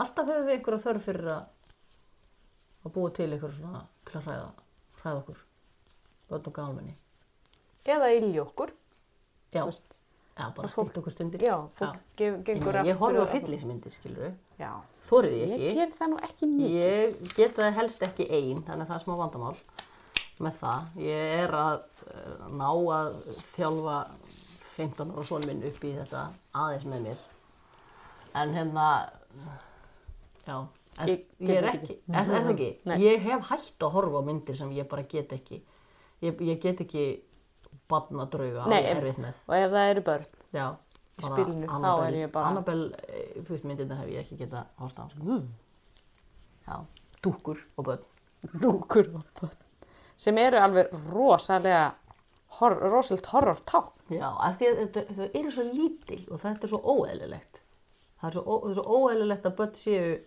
A: Alltaf höfum við einhverja þörf fyrir að að búa til eitthvað svona til að hræða, hræða okkur börn og gálmenni
C: Eða ylja okkur.
A: já,
B: Þú veist.
A: já bara
C: Og fólk-
A: stýtt okkur stundir
C: Já, fólk gef-
A: Ég,
C: gengur
A: meina, ég horfi
C: aftur
A: á
C: og-
A: hryllismyndir, skilur við,
C: Já,
A: þórið ég
B: Ég
A: ekki.
B: ger það nú ekki mikið.
A: Ég geta það helst ekki einn, þannig að það er smá vandamál með það. Ég er að eh, ná að þjálfa 15 ára son minn upp í þetta aðeins með mér. En hérna, já, en ég,
B: Ég get
A: er
B: þetta ekki.
A: ekki, er, er það ekki.
B: Nei.
A: Ég hef hætt að horfa á myndir sem ég bara get ekki. Ég, ég get ekki barna drauga
B: Nei,
A: alveg
B: em-
A: erfitt með.
B: Og ef það eru börn,
A: Já,
B: spilinu, þá
A: Annabelle-
B: er ég bara-
A: Annabelle, eh, þú veist, myndirna hef ég ekki geta hósta á. Mm. Já, dúkkur og börn.
B: dúkur og börn, sem eru alveg rosalega, hor, rosalt horror ták.
A: Já, af því að þetta- þau eru svo lítil og þetta er svo óeðlilegt. Það er svo, ó- það er svo óeðlilegt að börn séu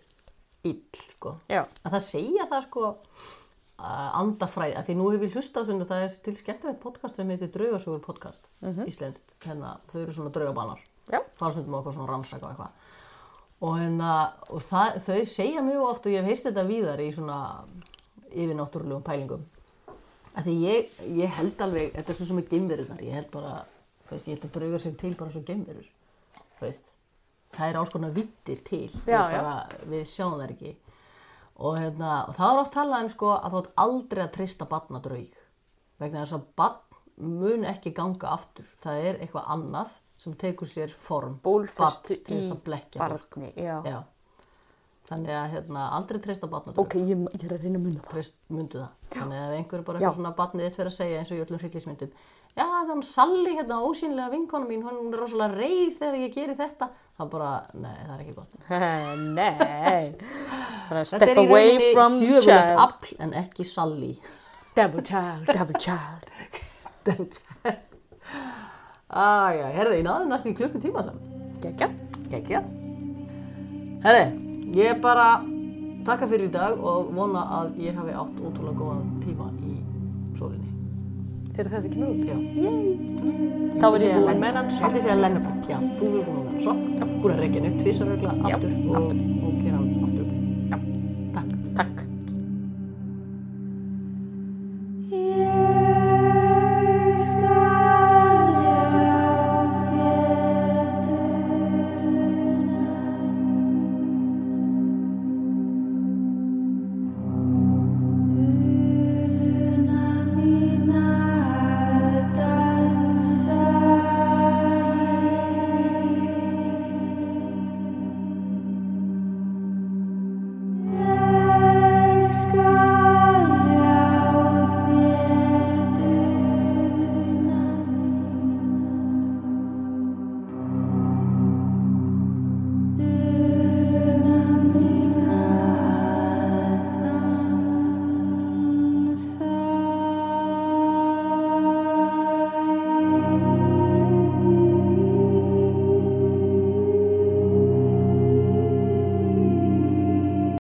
A: ill, sko.
B: Já.
A: En það segja það, sko, uh, andafræði, af því nú hef ég hlustað svona, það er til skemmtilegt podcast sem heitir Draugasögur podcast,
B: Mhm.
A: íslenskt, hérna, þau eru svona draugabanar.
B: Já.
A: Fara stundum á eitthvað svona rannsaka og eitthvað. Og, hérna, og það, þau segja mjög oft og ég hef heyrt þetta víðar í svona yfirnáttúrulegum pælingum að því ég, ég held alveg, þetta er svo sem er geimverunar, ég held bara, þú veist, ég held að draugar sem til bara svo geimverur, þú veist, það er alls konar vittir til, við,
C: Já, já.
A: bara, við sjáum það ekki. Og, hérna, og það er oft talað um sko að þú átt aldrei að trista batna draug, vegna þess að batn mun ekki ganga aftur, það er eitthvað annað sem tekur sér form,
B: Bólfestu
A: barns til þess
B: í
A: að blekja fólk.
B: Barni, já.
A: Já. Þannig að hérna, aldrei trista batna
B: Ok, ég, ég er að reyna að munna það.
A: trist mundu það. Þannig að ef einhver er bara
B: Já.
A: eitthvað svona barnið þitt fyrir að segja eins og í öllum hryllismyndum Já, það er hann Salli hérna, ósýnilega vinkona mín, hún er rosalega reið þegar ég geri þetta. Það bara, nei, það er ekki gott.
B: Nei. Bara Step away from the
A: djöfulegt
B: child.
A: afl en ekki Salli.
B: Double child, double child.
A: Æja, herði, ég náðu næst í klukkutíma saman.
B: Gekja.
A: Gekja. Herði, ég bara takka fyrir í dag og vona að ég hafi átt ótrúlega góðan tíma í sólinni.
C: þegar þetta kemur út.
A: Já.
B: Þá er ég búin með hann
A: sokk. Haldið sé að lenna upp, já, þú verður búin með hann sokk, búin að reykja hann upp tvisar regla, aftur og, og gera hann aftur upp.
B: Já.